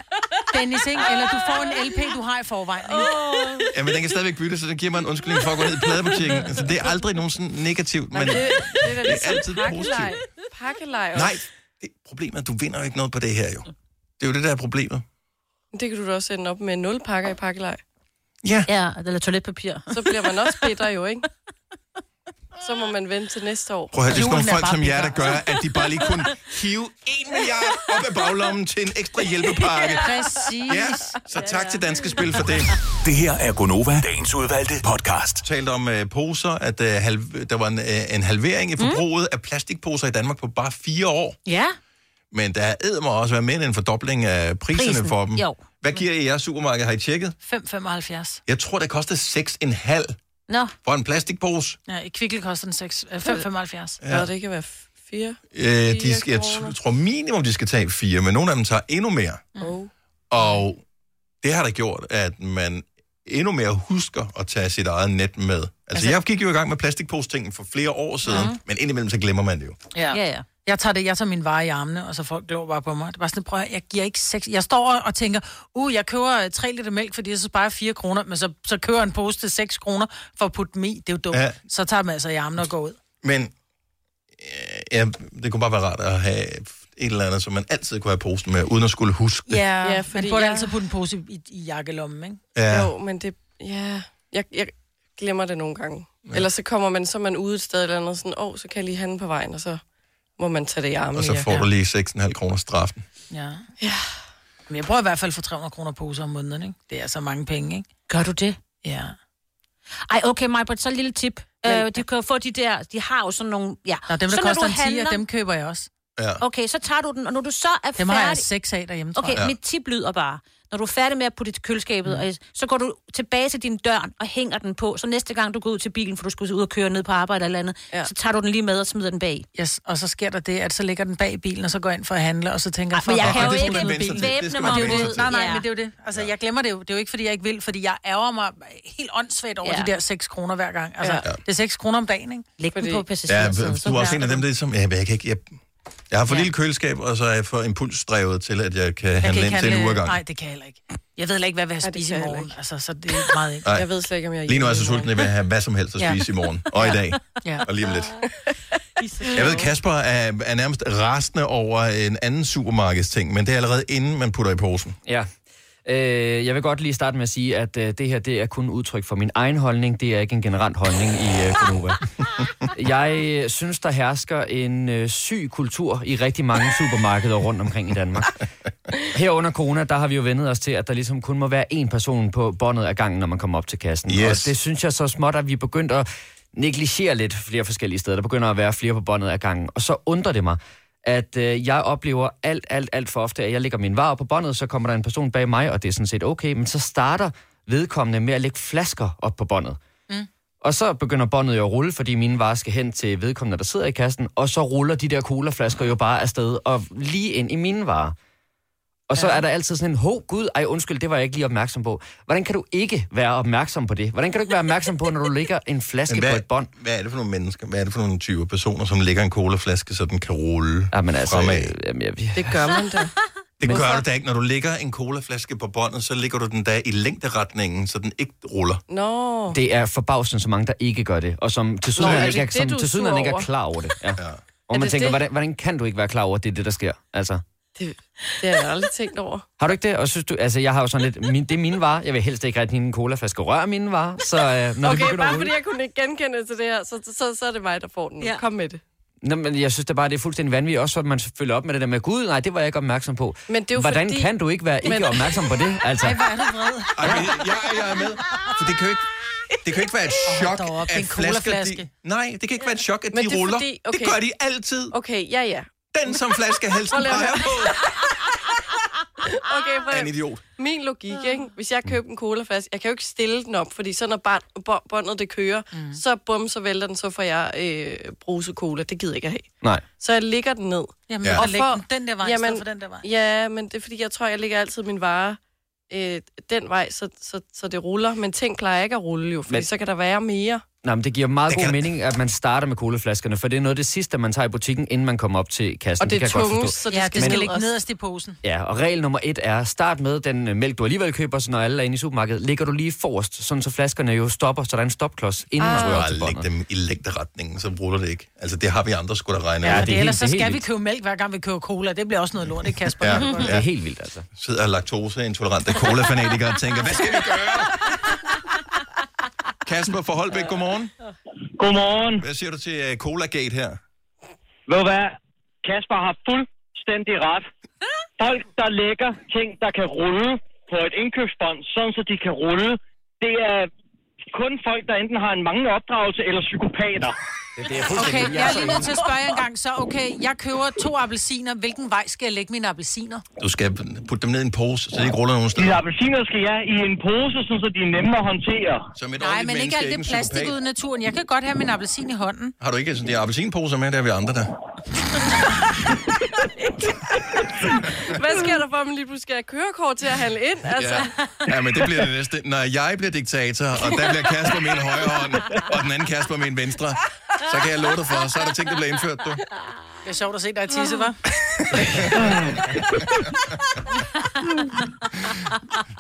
Speaker 2: Dennis, ikke? Eller du får en LP, du har i forvejen, ikke?
Speaker 1: Jamen, den kan stadigvæk bytte, så den giver mig en undskyldning for at gå ned i
Speaker 2: *laughs*
Speaker 1: pladebutikken. Altså, det er aldrig nogen sådan negativt, men
Speaker 6: Men det, det er da
Speaker 1: det er
Speaker 6: ligesom
Speaker 1: altid
Speaker 6: pakkelej.
Speaker 1: positivt.
Speaker 6: Pakkelej også.
Speaker 1: Nej, det problemet er, at du vinder jo ikke noget på det her, jo. Det er jo det, der er problemet.
Speaker 6: Det kan du da også ende op med nul pakker i pakkelej.
Speaker 1: Ja.
Speaker 5: Ja, eller toiletpapir.
Speaker 6: Så bliver man også bitter jo, ikke? Så må man vente til næste år.
Speaker 1: Prøv at høre, det er sådan nogle
Speaker 6: Julen
Speaker 1: folk
Speaker 6: bare
Speaker 1: som jer, der
Speaker 6: bitter.
Speaker 1: gør, at de bare lige kunne
Speaker 2: *laughs*
Speaker 1: hive en milliard op af baglommen til en ekstra hjælpepakke.
Speaker 2: Præcis.
Speaker 1: Ja, så tak til Danske Spil for det.
Speaker 7: Det her er Gonova, dagens udvalgte podcast.
Speaker 1: talt om øh, poser, at øh, halv, der var en, øh, en halvering i forbruget mm. af plastikposer i Danmark på bare fire år.
Speaker 5: Ja.
Speaker 1: Men der er mig også være med en fordobling af priserne
Speaker 2: Prisen,
Speaker 1: Prisen. for dem.
Speaker 2: jo.
Speaker 1: Hvad giver I jeres supermarked? Har I tjekket?
Speaker 2: 5,75.
Speaker 1: Jeg tror, det koster 6,5
Speaker 5: Nå.
Speaker 1: for en plastikpose.
Speaker 2: Ja, i Kvickle koster den seks- øh, 5,75.
Speaker 1: Ja. Nå, det
Speaker 6: kan være fire.
Speaker 1: Øh, de skal, jeg t- tror minimum, de skal tage fire, men nogle af dem tager endnu mere.
Speaker 6: Oh.
Speaker 1: Og det har da gjort, at man endnu mere husker at tage sit eget net med. Altså, altså jeg gik jo i gang med plastikpostingen for flere år siden,
Speaker 2: Mhm.
Speaker 1: men indimellem så glemmer man det jo.
Speaker 2: Ja. ja, ja. Jeg tager, det, jeg tager min vare i armene, og så folk glår bare på mig. Det var sådan, prøv at høre, jeg giver ikke seks. Jeg står og- og tænker, uh, jeg køber 3 liter mælk, fordi jeg så sparer 4 kroner, men så, så køber jeg en pose til 6 kroner for at putte dem i. Det er jo dumt.
Speaker 1: Ja.
Speaker 2: Ja. Så tager man altså i armene og går ud.
Speaker 1: Men øh, ja, det kunne bare være rart at have et eller andet, som man altid kunne have posen med, uden at skulle huske det.
Speaker 2: Ja,
Speaker 6: Ja,
Speaker 2: ja
Speaker 6: fordi
Speaker 2: man burde
Speaker 6: jeg-
Speaker 2: jeg... altid putte en pose i, i, i jakkelommen, ikke?
Speaker 1: Ja.
Speaker 6: Jo, men det... Ja, jeg, jeg glemmer det nogle gange. Ja. Ellers så kommer man, så er man ude et sted eller andet, sådan, åh, oh, så kan jeg lige have den på vejen, og så må man tage det i armen.
Speaker 1: Og så får
Speaker 6: ja.
Speaker 1: du lige 6,5 kroner straffen.
Speaker 2: Ja. ja. Men jeg bruger i hvert fald for 300 kroner poser om måneden, ikke? Det er så mange penge, ikke?
Speaker 5: Gør du det?
Speaker 2: Ja.
Speaker 5: Ej, okay, Majbert, så et lille tip. Øh, de kan jo få de der, de har jo sådan nogle... Ja.
Speaker 2: Nå, dem,
Speaker 5: så,
Speaker 2: der så,
Speaker 5: når
Speaker 2: koster
Speaker 5: du
Speaker 2: en 10,
Speaker 5: handler-
Speaker 2: dem køber jeg også.
Speaker 1: Ja.
Speaker 5: Okay, så tager du den, og når du så er
Speaker 2: Dem har
Speaker 5: færdig...
Speaker 2: jeg seks af derhjemme, tror
Speaker 5: Okay,
Speaker 2: jeg.
Speaker 5: mit tip lyder bare. Når du er færdig med at putte det i køleskabet,
Speaker 2: Mm.
Speaker 5: og så går du tilbage til din dør og hænger den på, så næste gang du går ud til bilen, for du skal ud og køre ned på arbejde eller andet, ja. så tager du den lige med og smider den bag.
Speaker 2: Yes, og så sker der det, at så ligger den bag i bilen, og så går jeg ind for at handle, og så tænker
Speaker 5: Ej,
Speaker 2: jeg...
Speaker 5: men jeg
Speaker 2: fuck,
Speaker 5: kan
Speaker 2: hvor
Speaker 5: jo
Speaker 2: er det
Speaker 5: ikke
Speaker 2: dumt, at
Speaker 5: væbne
Speaker 2: bilen-
Speaker 5: mig
Speaker 2: Det er jo
Speaker 5: om
Speaker 2: det.
Speaker 5: det.
Speaker 2: Nej, nej,
Speaker 5: Ja.
Speaker 2: men det er jo det. Altså, jeg glemmer det jo. Det er jo ikke, fordi jeg ikke vil, fordi jeg ærger mig helt åndsvagt over
Speaker 5: Ja.
Speaker 2: de der 6 kroner hver gang. Altså,
Speaker 5: Ja.
Speaker 2: det er 6 kroner om dagen, ikke?
Speaker 5: Læg den på
Speaker 1: Ja,
Speaker 5: passagersædet. så
Speaker 1: du er også
Speaker 5: bærer
Speaker 1: en af dem, der ligesom, ja, men jeg, kan ikke, jeg, jeg har for ja. lille køleskab, og så er jeg for impulsdrevet til, at jeg kan
Speaker 2: Jeg
Speaker 1: handle
Speaker 2: kan
Speaker 1: ind
Speaker 2: ikke
Speaker 1: til en uge ad
Speaker 2: handle...
Speaker 1: gangen.
Speaker 2: Nej, det kan jeg heller ikke. Jeg ved heller ikke, hvad vi har
Speaker 6: det
Speaker 2: spist i
Speaker 6: kan jeg heller
Speaker 2: morgen. Altså, så det er meget ikke.
Speaker 1: Nej.
Speaker 6: Jeg ved slet ikke, om jeg
Speaker 1: Lige nu er jeg så sulten, at jeg vil have hvad som helst at
Speaker 2: Ja.
Speaker 1: spise i morgen, og i dag,
Speaker 2: Ja.
Speaker 1: og lige om lidt. Jeg ved, Kasper er, er nærmest rasende over en anden supermarkedsting, men det er allerede inden, man putter i posen.
Speaker 4: Ja. Øh, jeg vil godt lige starte med at sige, at øh, det her det er kun udtryk for min egen holdning. Det er ikke en generelt holdning i øh, Konova. jeg øh, synes, der hersker en øh, syg kultur i rigtig mange supermarkeder rundt omkring i Danmark. Her under corona, der har vi jo vendet os til, at der ligesom kun må være én person på båndet af gangen, når man kommer op til kassen.
Speaker 1: Yes.
Speaker 4: Og det synes jeg så småt, at vi er begyndt at negligere lidt flere forskellige steder. Der begynder at være flere på båndet af gangen. Og så undrer det mig, at øh, jeg oplever alt, alt, alt for ofte, at jeg lægger min varer på båndet, så kommer der en person bag mig, og det er sådan set okay, men så starter vedkommende med at lægge flasker op på båndet.
Speaker 2: Mm.
Speaker 4: Og så begynder båndet jo at rulle, fordi mine varer skal hen til vedkommende, der sidder i kassen, og så ruller de der colaflasker jo bare afsted og lige ind i mine varer. Og så er der altid sådan en, ho, gud, ej undskyld, det var jeg ikke lige opmærksom på. Hvordan kan du ikke være opmærksom på det? Hvordan kan du ikke være opmærksom på, når du lægger en flaske
Speaker 1: hvad,
Speaker 4: på et bånd?
Speaker 1: hvad er det for nogle mennesker, hvad er det for nogle typer personer, som lægger en colaflaske, så den kan rulle ja, men
Speaker 4: altså,
Speaker 1: fremad?
Speaker 4: Jamen, jeg,
Speaker 6: Det gør man da.
Speaker 1: det gør
Speaker 6: Hvorfor?
Speaker 1: du da ikke. Når du lægger en colaflaske på båndet, så ligger du den da i længderetningen, så den ikke ruller.
Speaker 6: Nå.
Speaker 4: Det er forbavsende så mange, der ikke gør det, og som til
Speaker 6: Nå, er
Speaker 4: sydenheden
Speaker 6: det
Speaker 4: ikke, er-
Speaker 6: det,
Speaker 4: som,
Speaker 6: du er
Speaker 4: til sydenheden
Speaker 6: sur
Speaker 4: ikke er
Speaker 6: over?
Speaker 4: klar over det. Ja. Ja. Og
Speaker 6: Er
Speaker 4: man
Speaker 6: det
Speaker 4: tænker,
Speaker 6: det?
Speaker 4: hvordan, hvordan kan du ikke være klar over, at det er det, der sker? Altså,
Speaker 6: Det, det har jeg aldrig tænkt over.
Speaker 4: har du ikke det? Og synes du, altså, jeg har jo sådan lidt, min, det er mine varer. Jeg vil helst ikke rigtig en colaflaske røre mine varer. Så øh, når det
Speaker 6: Okay,
Speaker 4: begynder at
Speaker 6: bare fordi
Speaker 4: rulle...
Speaker 6: jeg kunne ikke genkende til det her, så, så, så er det mig, der får den. Ja. Kom med det.
Speaker 4: Nå, men jeg synes det bare, det er fuldstændig vanvittigt. Også at man følger op med det der med, gud, nej, det var jeg ikke opmærksom på.
Speaker 6: Men det er jo
Speaker 4: hvordan
Speaker 6: fordi-
Speaker 4: kan du ikke være ikke
Speaker 6: Men-
Speaker 4: opmærksom på
Speaker 6: *laughs*
Speaker 4: det?
Speaker 2: *laughs*
Speaker 4: Altså,
Speaker 2: Ej, hvor er du vred.
Speaker 1: Ej, men jeg, jeg er med. For det kan jo ikke, det kan jo ikke være et chok,
Speaker 6: dog op, det er
Speaker 1: at
Speaker 6: en
Speaker 1: flasker...
Speaker 6: colaflaske.
Speaker 1: De, nej, det kan ikke være et chok, at
Speaker 6: Men det
Speaker 1: de
Speaker 6: er
Speaker 1: ruller.
Speaker 6: fordi-
Speaker 1: Det
Speaker 6: okay.
Speaker 1: gør de altid.
Speaker 6: Okay, ja, ja.
Speaker 1: Den, som
Speaker 6: *laughs*
Speaker 1: flaskehalsen
Speaker 6: Prøv lige at
Speaker 1: peger
Speaker 6: høre.
Speaker 1: på,
Speaker 6: Okay, for
Speaker 1: er en idiot.
Speaker 6: min logik, ikke? Hvis jeg køber en colaflaske, jeg kan jo ikke stille den op, fordi så når barn, bo- båndet det kører, mm. så bum, så vælter den, så får jeg øh, bruse cola. Det gider jeg ikke at have.
Speaker 4: Nej.
Speaker 6: Så jeg ligger den ned.
Speaker 2: Jamen, Ja. læg den den der vej i stedet for den der vej.
Speaker 6: Ja, men det er fordi, jeg tror, jeg ligger altid min vare øh, den vej, så, så, så det ruller. Men ting plejer ikke at rulle jo, fordi
Speaker 4: Men-
Speaker 6: men... så kan der være mere.
Speaker 4: Nej, men det giver meget god mening, at man starter med colaflaskerne, for det er noget af det sidste, man tager i butikken, inden man kommer op til kassen.
Speaker 6: Og det er
Speaker 4: kan jeg godt
Speaker 6: tungest,
Speaker 4: forstå.
Speaker 6: så det
Speaker 2: Ja, det skal
Speaker 4: Men-
Speaker 2: ligge nederst i posen.
Speaker 4: Ja, og regel nummer et er, start med den øh, mælk, du alligevel køber, så når alle er inde i supermarkedet, ligger du lige forrest, sådan så flaskerne jo stopper, så der er en stopklods, inden ah.
Speaker 1: Ah.
Speaker 4: man rører
Speaker 1: Bare
Speaker 4: til
Speaker 1: læg
Speaker 4: båndet.
Speaker 1: dem i længderetningen, så ruller det ikke. Altså, det har vi andre skulle da regne
Speaker 2: Ja,
Speaker 1: ud.
Speaker 2: det, det ellers så skal vi købe mælk, hver gang vi køber cola. Det bliver også noget lort, ikke Kasper?
Speaker 1: Ja,
Speaker 2: Det
Speaker 1: ja.
Speaker 4: helt vildt, altså.
Speaker 1: Sidder laktoseintolerante cola-fanatikere og tænker, hvad skal vi gøre? Kasper fra Holbæk, godmorgen.
Speaker 3: Godmorgen.
Speaker 1: Hvad siger du til øh, Colagate her?
Speaker 3: Ved du hvad? Kasper har fuldstændig ret. Folk, der lægger ting, der kan rulle på et indkøbsbånd, sådan så de kan rulle, det er kun folk, der enten har en manglende opdragelse eller psykopater.
Speaker 4: Det er
Speaker 2: Okay, jeg er lige nødt til at spørge jer en gang, så okay, jeg køber to appelsiner. Hvilken vej skal jeg lægge mine appelsiner?
Speaker 1: Du skal putte dem ned i en pose, så de ikke ruller nogen steder.
Speaker 3: De appelsiner skal jeg i en pose, sådan så de er nemme at håndtere.
Speaker 1: Som et
Speaker 2: Nej, men
Speaker 1: ordentligt menneske,
Speaker 2: ikke alt
Speaker 1: en
Speaker 2: det plastik
Speaker 1: psykopat.
Speaker 2: ud i naturen. Jeg kan godt have min appelsin i hånden.
Speaker 1: Har du ikke sådan de appelsinposer med, der er vi andre der?
Speaker 6: Hvad sker der for, at man lige pludselig skal have kørekort til at handle ind? Altså, ja.
Speaker 1: Ja, men det bliver det næste. Når jeg bliver diktator, og der bliver Kasper med en højre hånd, og den anden Kasper med en venstre, så kan jeg love dig for, så er der ting, der bliver indført, du.
Speaker 2: Det er sjovt at se dig tisse, hva'?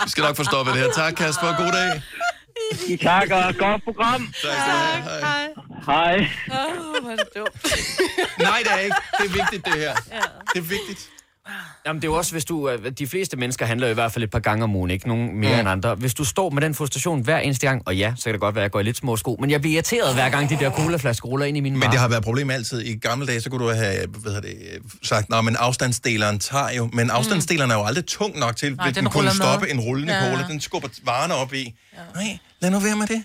Speaker 1: Vi skal nok få stoppet det her. Tak, Kasper. God dag.
Speaker 3: Tak, og godt program.
Speaker 1: Tak skal du have. Hej.
Speaker 3: Hej.
Speaker 6: Åh, hvor er det dumt.
Speaker 1: Nej, det er ikke. Det er vigtigt, det her. Det er vigtigt.
Speaker 4: Jamen, det er jo også, hvis du... øh, De fleste mennesker handler jo i hvert fald et par gange om ugen, ikke? Nogen mere mm. end andre. Hvis du står med den frustration hver eneste gang, og ja, så kan det godt være, at jeg går i lidt små sko, men jeg bliver irriteret hver gang, de der colaflasker ruller ind i mine
Speaker 2: Ah.
Speaker 1: Men det har været et problem altid. I gamle dage, så kunne du have hvad hedder det, sagt, at men afstandsdeleren tager jo. Men afstandsdeleren er jo aldrig tung nok til,
Speaker 2: Nej,
Speaker 1: at
Speaker 2: den
Speaker 1: den kunne
Speaker 2: ruller med.
Speaker 1: stoppe en rullende
Speaker 2: Ja.
Speaker 1: cola. Den skubber varerne op i. Nej, lad nu være med det.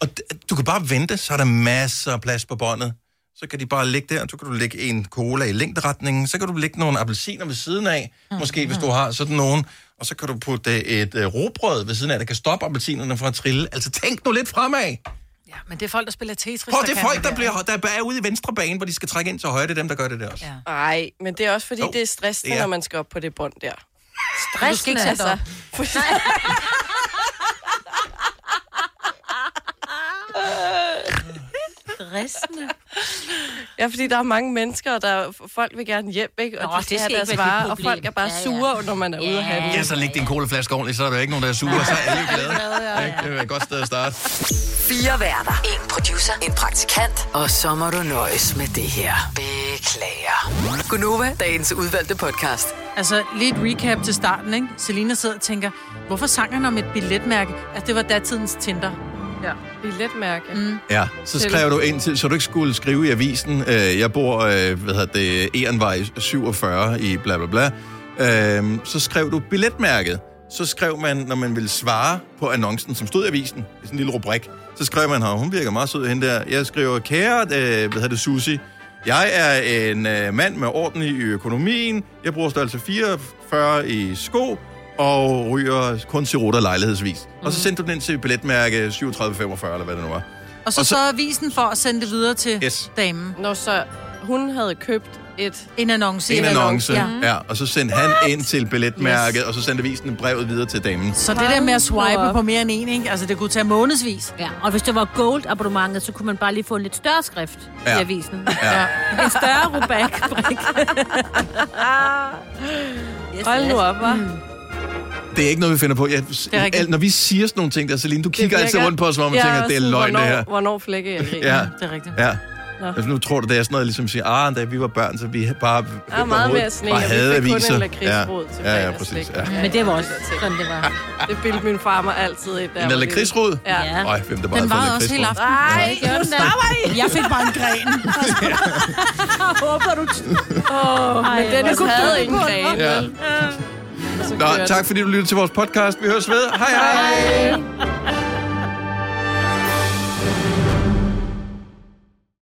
Speaker 1: Og d- du kan bare vente, så er der masser af plads på båndet. Så kan de bare ligge der, så kan du lægge en cola i længderetningen, så kan du lægge nogle appelsiner ved siden af,
Speaker 2: Mm,
Speaker 1: måske hvis du har sådan nogen, og så kan du putte øh, et øh, robrød ved siden af, der kan stoppe appelsinerne fra at trille. Altså tænk nu lidt fremad.
Speaker 2: Ja, men det er folk, der spiller Tetris.
Speaker 1: Prøv, det er
Speaker 2: kan
Speaker 1: folk, der,
Speaker 2: der.
Speaker 1: bliver, der er ude i venstre bane, hvor de skal trække ind til højre. Det er dem, der gør det der også. Ja.
Speaker 6: Nej, men det er også fordi, det er stressende,
Speaker 1: det er.
Speaker 6: når man skal op på det bånd der.
Speaker 2: Stressende er det op.
Speaker 5: Stressende.
Speaker 6: Ja, fordi der er mange mennesker, og der er, folk vil gerne hjem, ikke? Og
Speaker 5: Nå,
Speaker 6: Nå, de skal
Speaker 5: det
Speaker 6: have
Speaker 5: skal
Speaker 6: deres
Speaker 5: ikke være dit
Speaker 6: varer, og
Speaker 5: problem.
Speaker 6: folk er bare
Speaker 5: Ja, ja.
Speaker 6: sure, når man er ude at handle.
Speaker 1: Ja, så læg din colaflaske ordentligt, så er der jo ikke nogen, der er sure, og så er alle glade.
Speaker 6: *laughs* ja,
Speaker 1: Ikke? Det er et godt sted at starte.
Speaker 8: Fire værter. En producer. En praktikant. Og så må du nøjes med det her. Beklager. Gunova, dagens udvalgte podcast.
Speaker 2: Altså, lige et recap til starten, ikke? Selina sidder og tænker, hvorfor sang han om et billetmærke? Altså, det var datidens Tinder. Ja.
Speaker 6: Billetmærke.
Speaker 2: Mm.
Speaker 1: Ja, så skrev du ind til, så du ikke skulle skrive i avisen, øh, jeg bor, øh, hvad hedder det, Ehrenvej 47 i bla bla bla. Øh, så skrev du billetmærket. Så skrev man, når man ville svare på annoncen, som stod i avisen, i sådan en lille rubrik, så skrev man her, hun virker meget sød hende der. Jeg skriver, kære, øh, hvad hedder det, Susi, Jeg er en øh, mand med orden i økonomien. Jeg bruger størrelse 44 i sko og ryger kun cirutter lejlighedsvis. Mm. Og så sendte du den ind til billetmærke 3745, eller hvad det nu
Speaker 2: Og
Speaker 1: var.
Speaker 2: så,
Speaker 1: Og
Speaker 2: og
Speaker 1: så-
Speaker 2: så sørgede avisen for at sende det videre til
Speaker 1: Yes.
Speaker 2: damen.
Speaker 6: Når så hun havde købt et...
Speaker 2: En annonce.
Speaker 1: En annonce, ja.
Speaker 2: Ja.
Speaker 1: ja. Og så sendte han ind til billetmærket, yes. og så sendte avisen brevet videre til damen.
Speaker 2: Så det der med at swipe
Speaker 5: op.
Speaker 2: på mere end en, ikke? Altså, det kunne tage månedsvis.
Speaker 5: Ja, og hvis det var gold abonnementet, så kunne man bare lige få en lidt større skrift ja.
Speaker 1: Ja.
Speaker 5: i avisen.
Speaker 1: Ja.
Speaker 5: En større rubak.
Speaker 2: *laughs*
Speaker 9: 啊
Speaker 5: yes,
Speaker 6: Hold nu op, hva'?
Speaker 1: Det er ikke noget, vi finder på. Jeg,
Speaker 6: er rigtigt.
Speaker 1: alt, når vi siger sådan nogle ting der, Celine, du kigger altid rundt på os, hvor man
Speaker 6: Ja,
Speaker 1: ja, tænker,
Speaker 6: og
Speaker 1: det er
Speaker 6: sådan,
Speaker 1: løgn, det
Speaker 6: hvornår,
Speaker 1: her.
Speaker 6: Hvornår flække jeg griner.
Speaker 1: Ja.
Speaker 6: Det er rigtigt.
Speaker 1: Ja.
Speaker 6: Nå.
Speaker 1: Altså, nu tror du, det er sådan noget, ligesom at sige, ah, da vi var børn, så vi bare,
Speaker 6: meget
Speaker 1: overhovedet
Speaker 6: mere sne,
Speaker 1: bare
Speaker 6: og vi
Speaker 1: havde
Speaker 6: fik kun
Speaker 1: aviser.
Speaker 6: en lakridsrod altså, til
Speaker 1: ja, ja,
Speaker 6: fredagslik.
Speaker 1: præcis. Ja.
Speaker 5: Men det var også
Speaker 6: sådan,
Speaker 5: det var.
Speaker 6: Det bildte min far mig altid ind. da jeg
Speaker 1: En
Speaker 6: var
Speaker 1: lakridsrod?
Speaker 6: lille. Ja.
Speaker 1: Øj, hvem der bare
Speaker 6: Den
Speaker 1: havde fået
Speaker 6: varede
Speaker 2: Også
Speaker 1: lakridsrod?
Speaker 2: hele aften.
Speaker 6: Nej, gjorde den
Speaker 2: stopper I! Jeg fik bare en *laughs* gren.
Speaker 5: Håber du...
Speaker 6: Åh, oh, men
Speaker 2: Ej,
Speaker 6: Dennis
Speaker 2: hvor
Speaker 6: havde
Speaker 2: dumt.
Speaker 6: en gren.
Speaker 1: Ja.
Speaker 6: vel? Og så
Speaker 1: Nå,
Speaker 6: kørte
Speaker 1: tak fordi du lyttede til vores podcast. Vi høres ved. Hej, hej.
Speaker 6: Hej.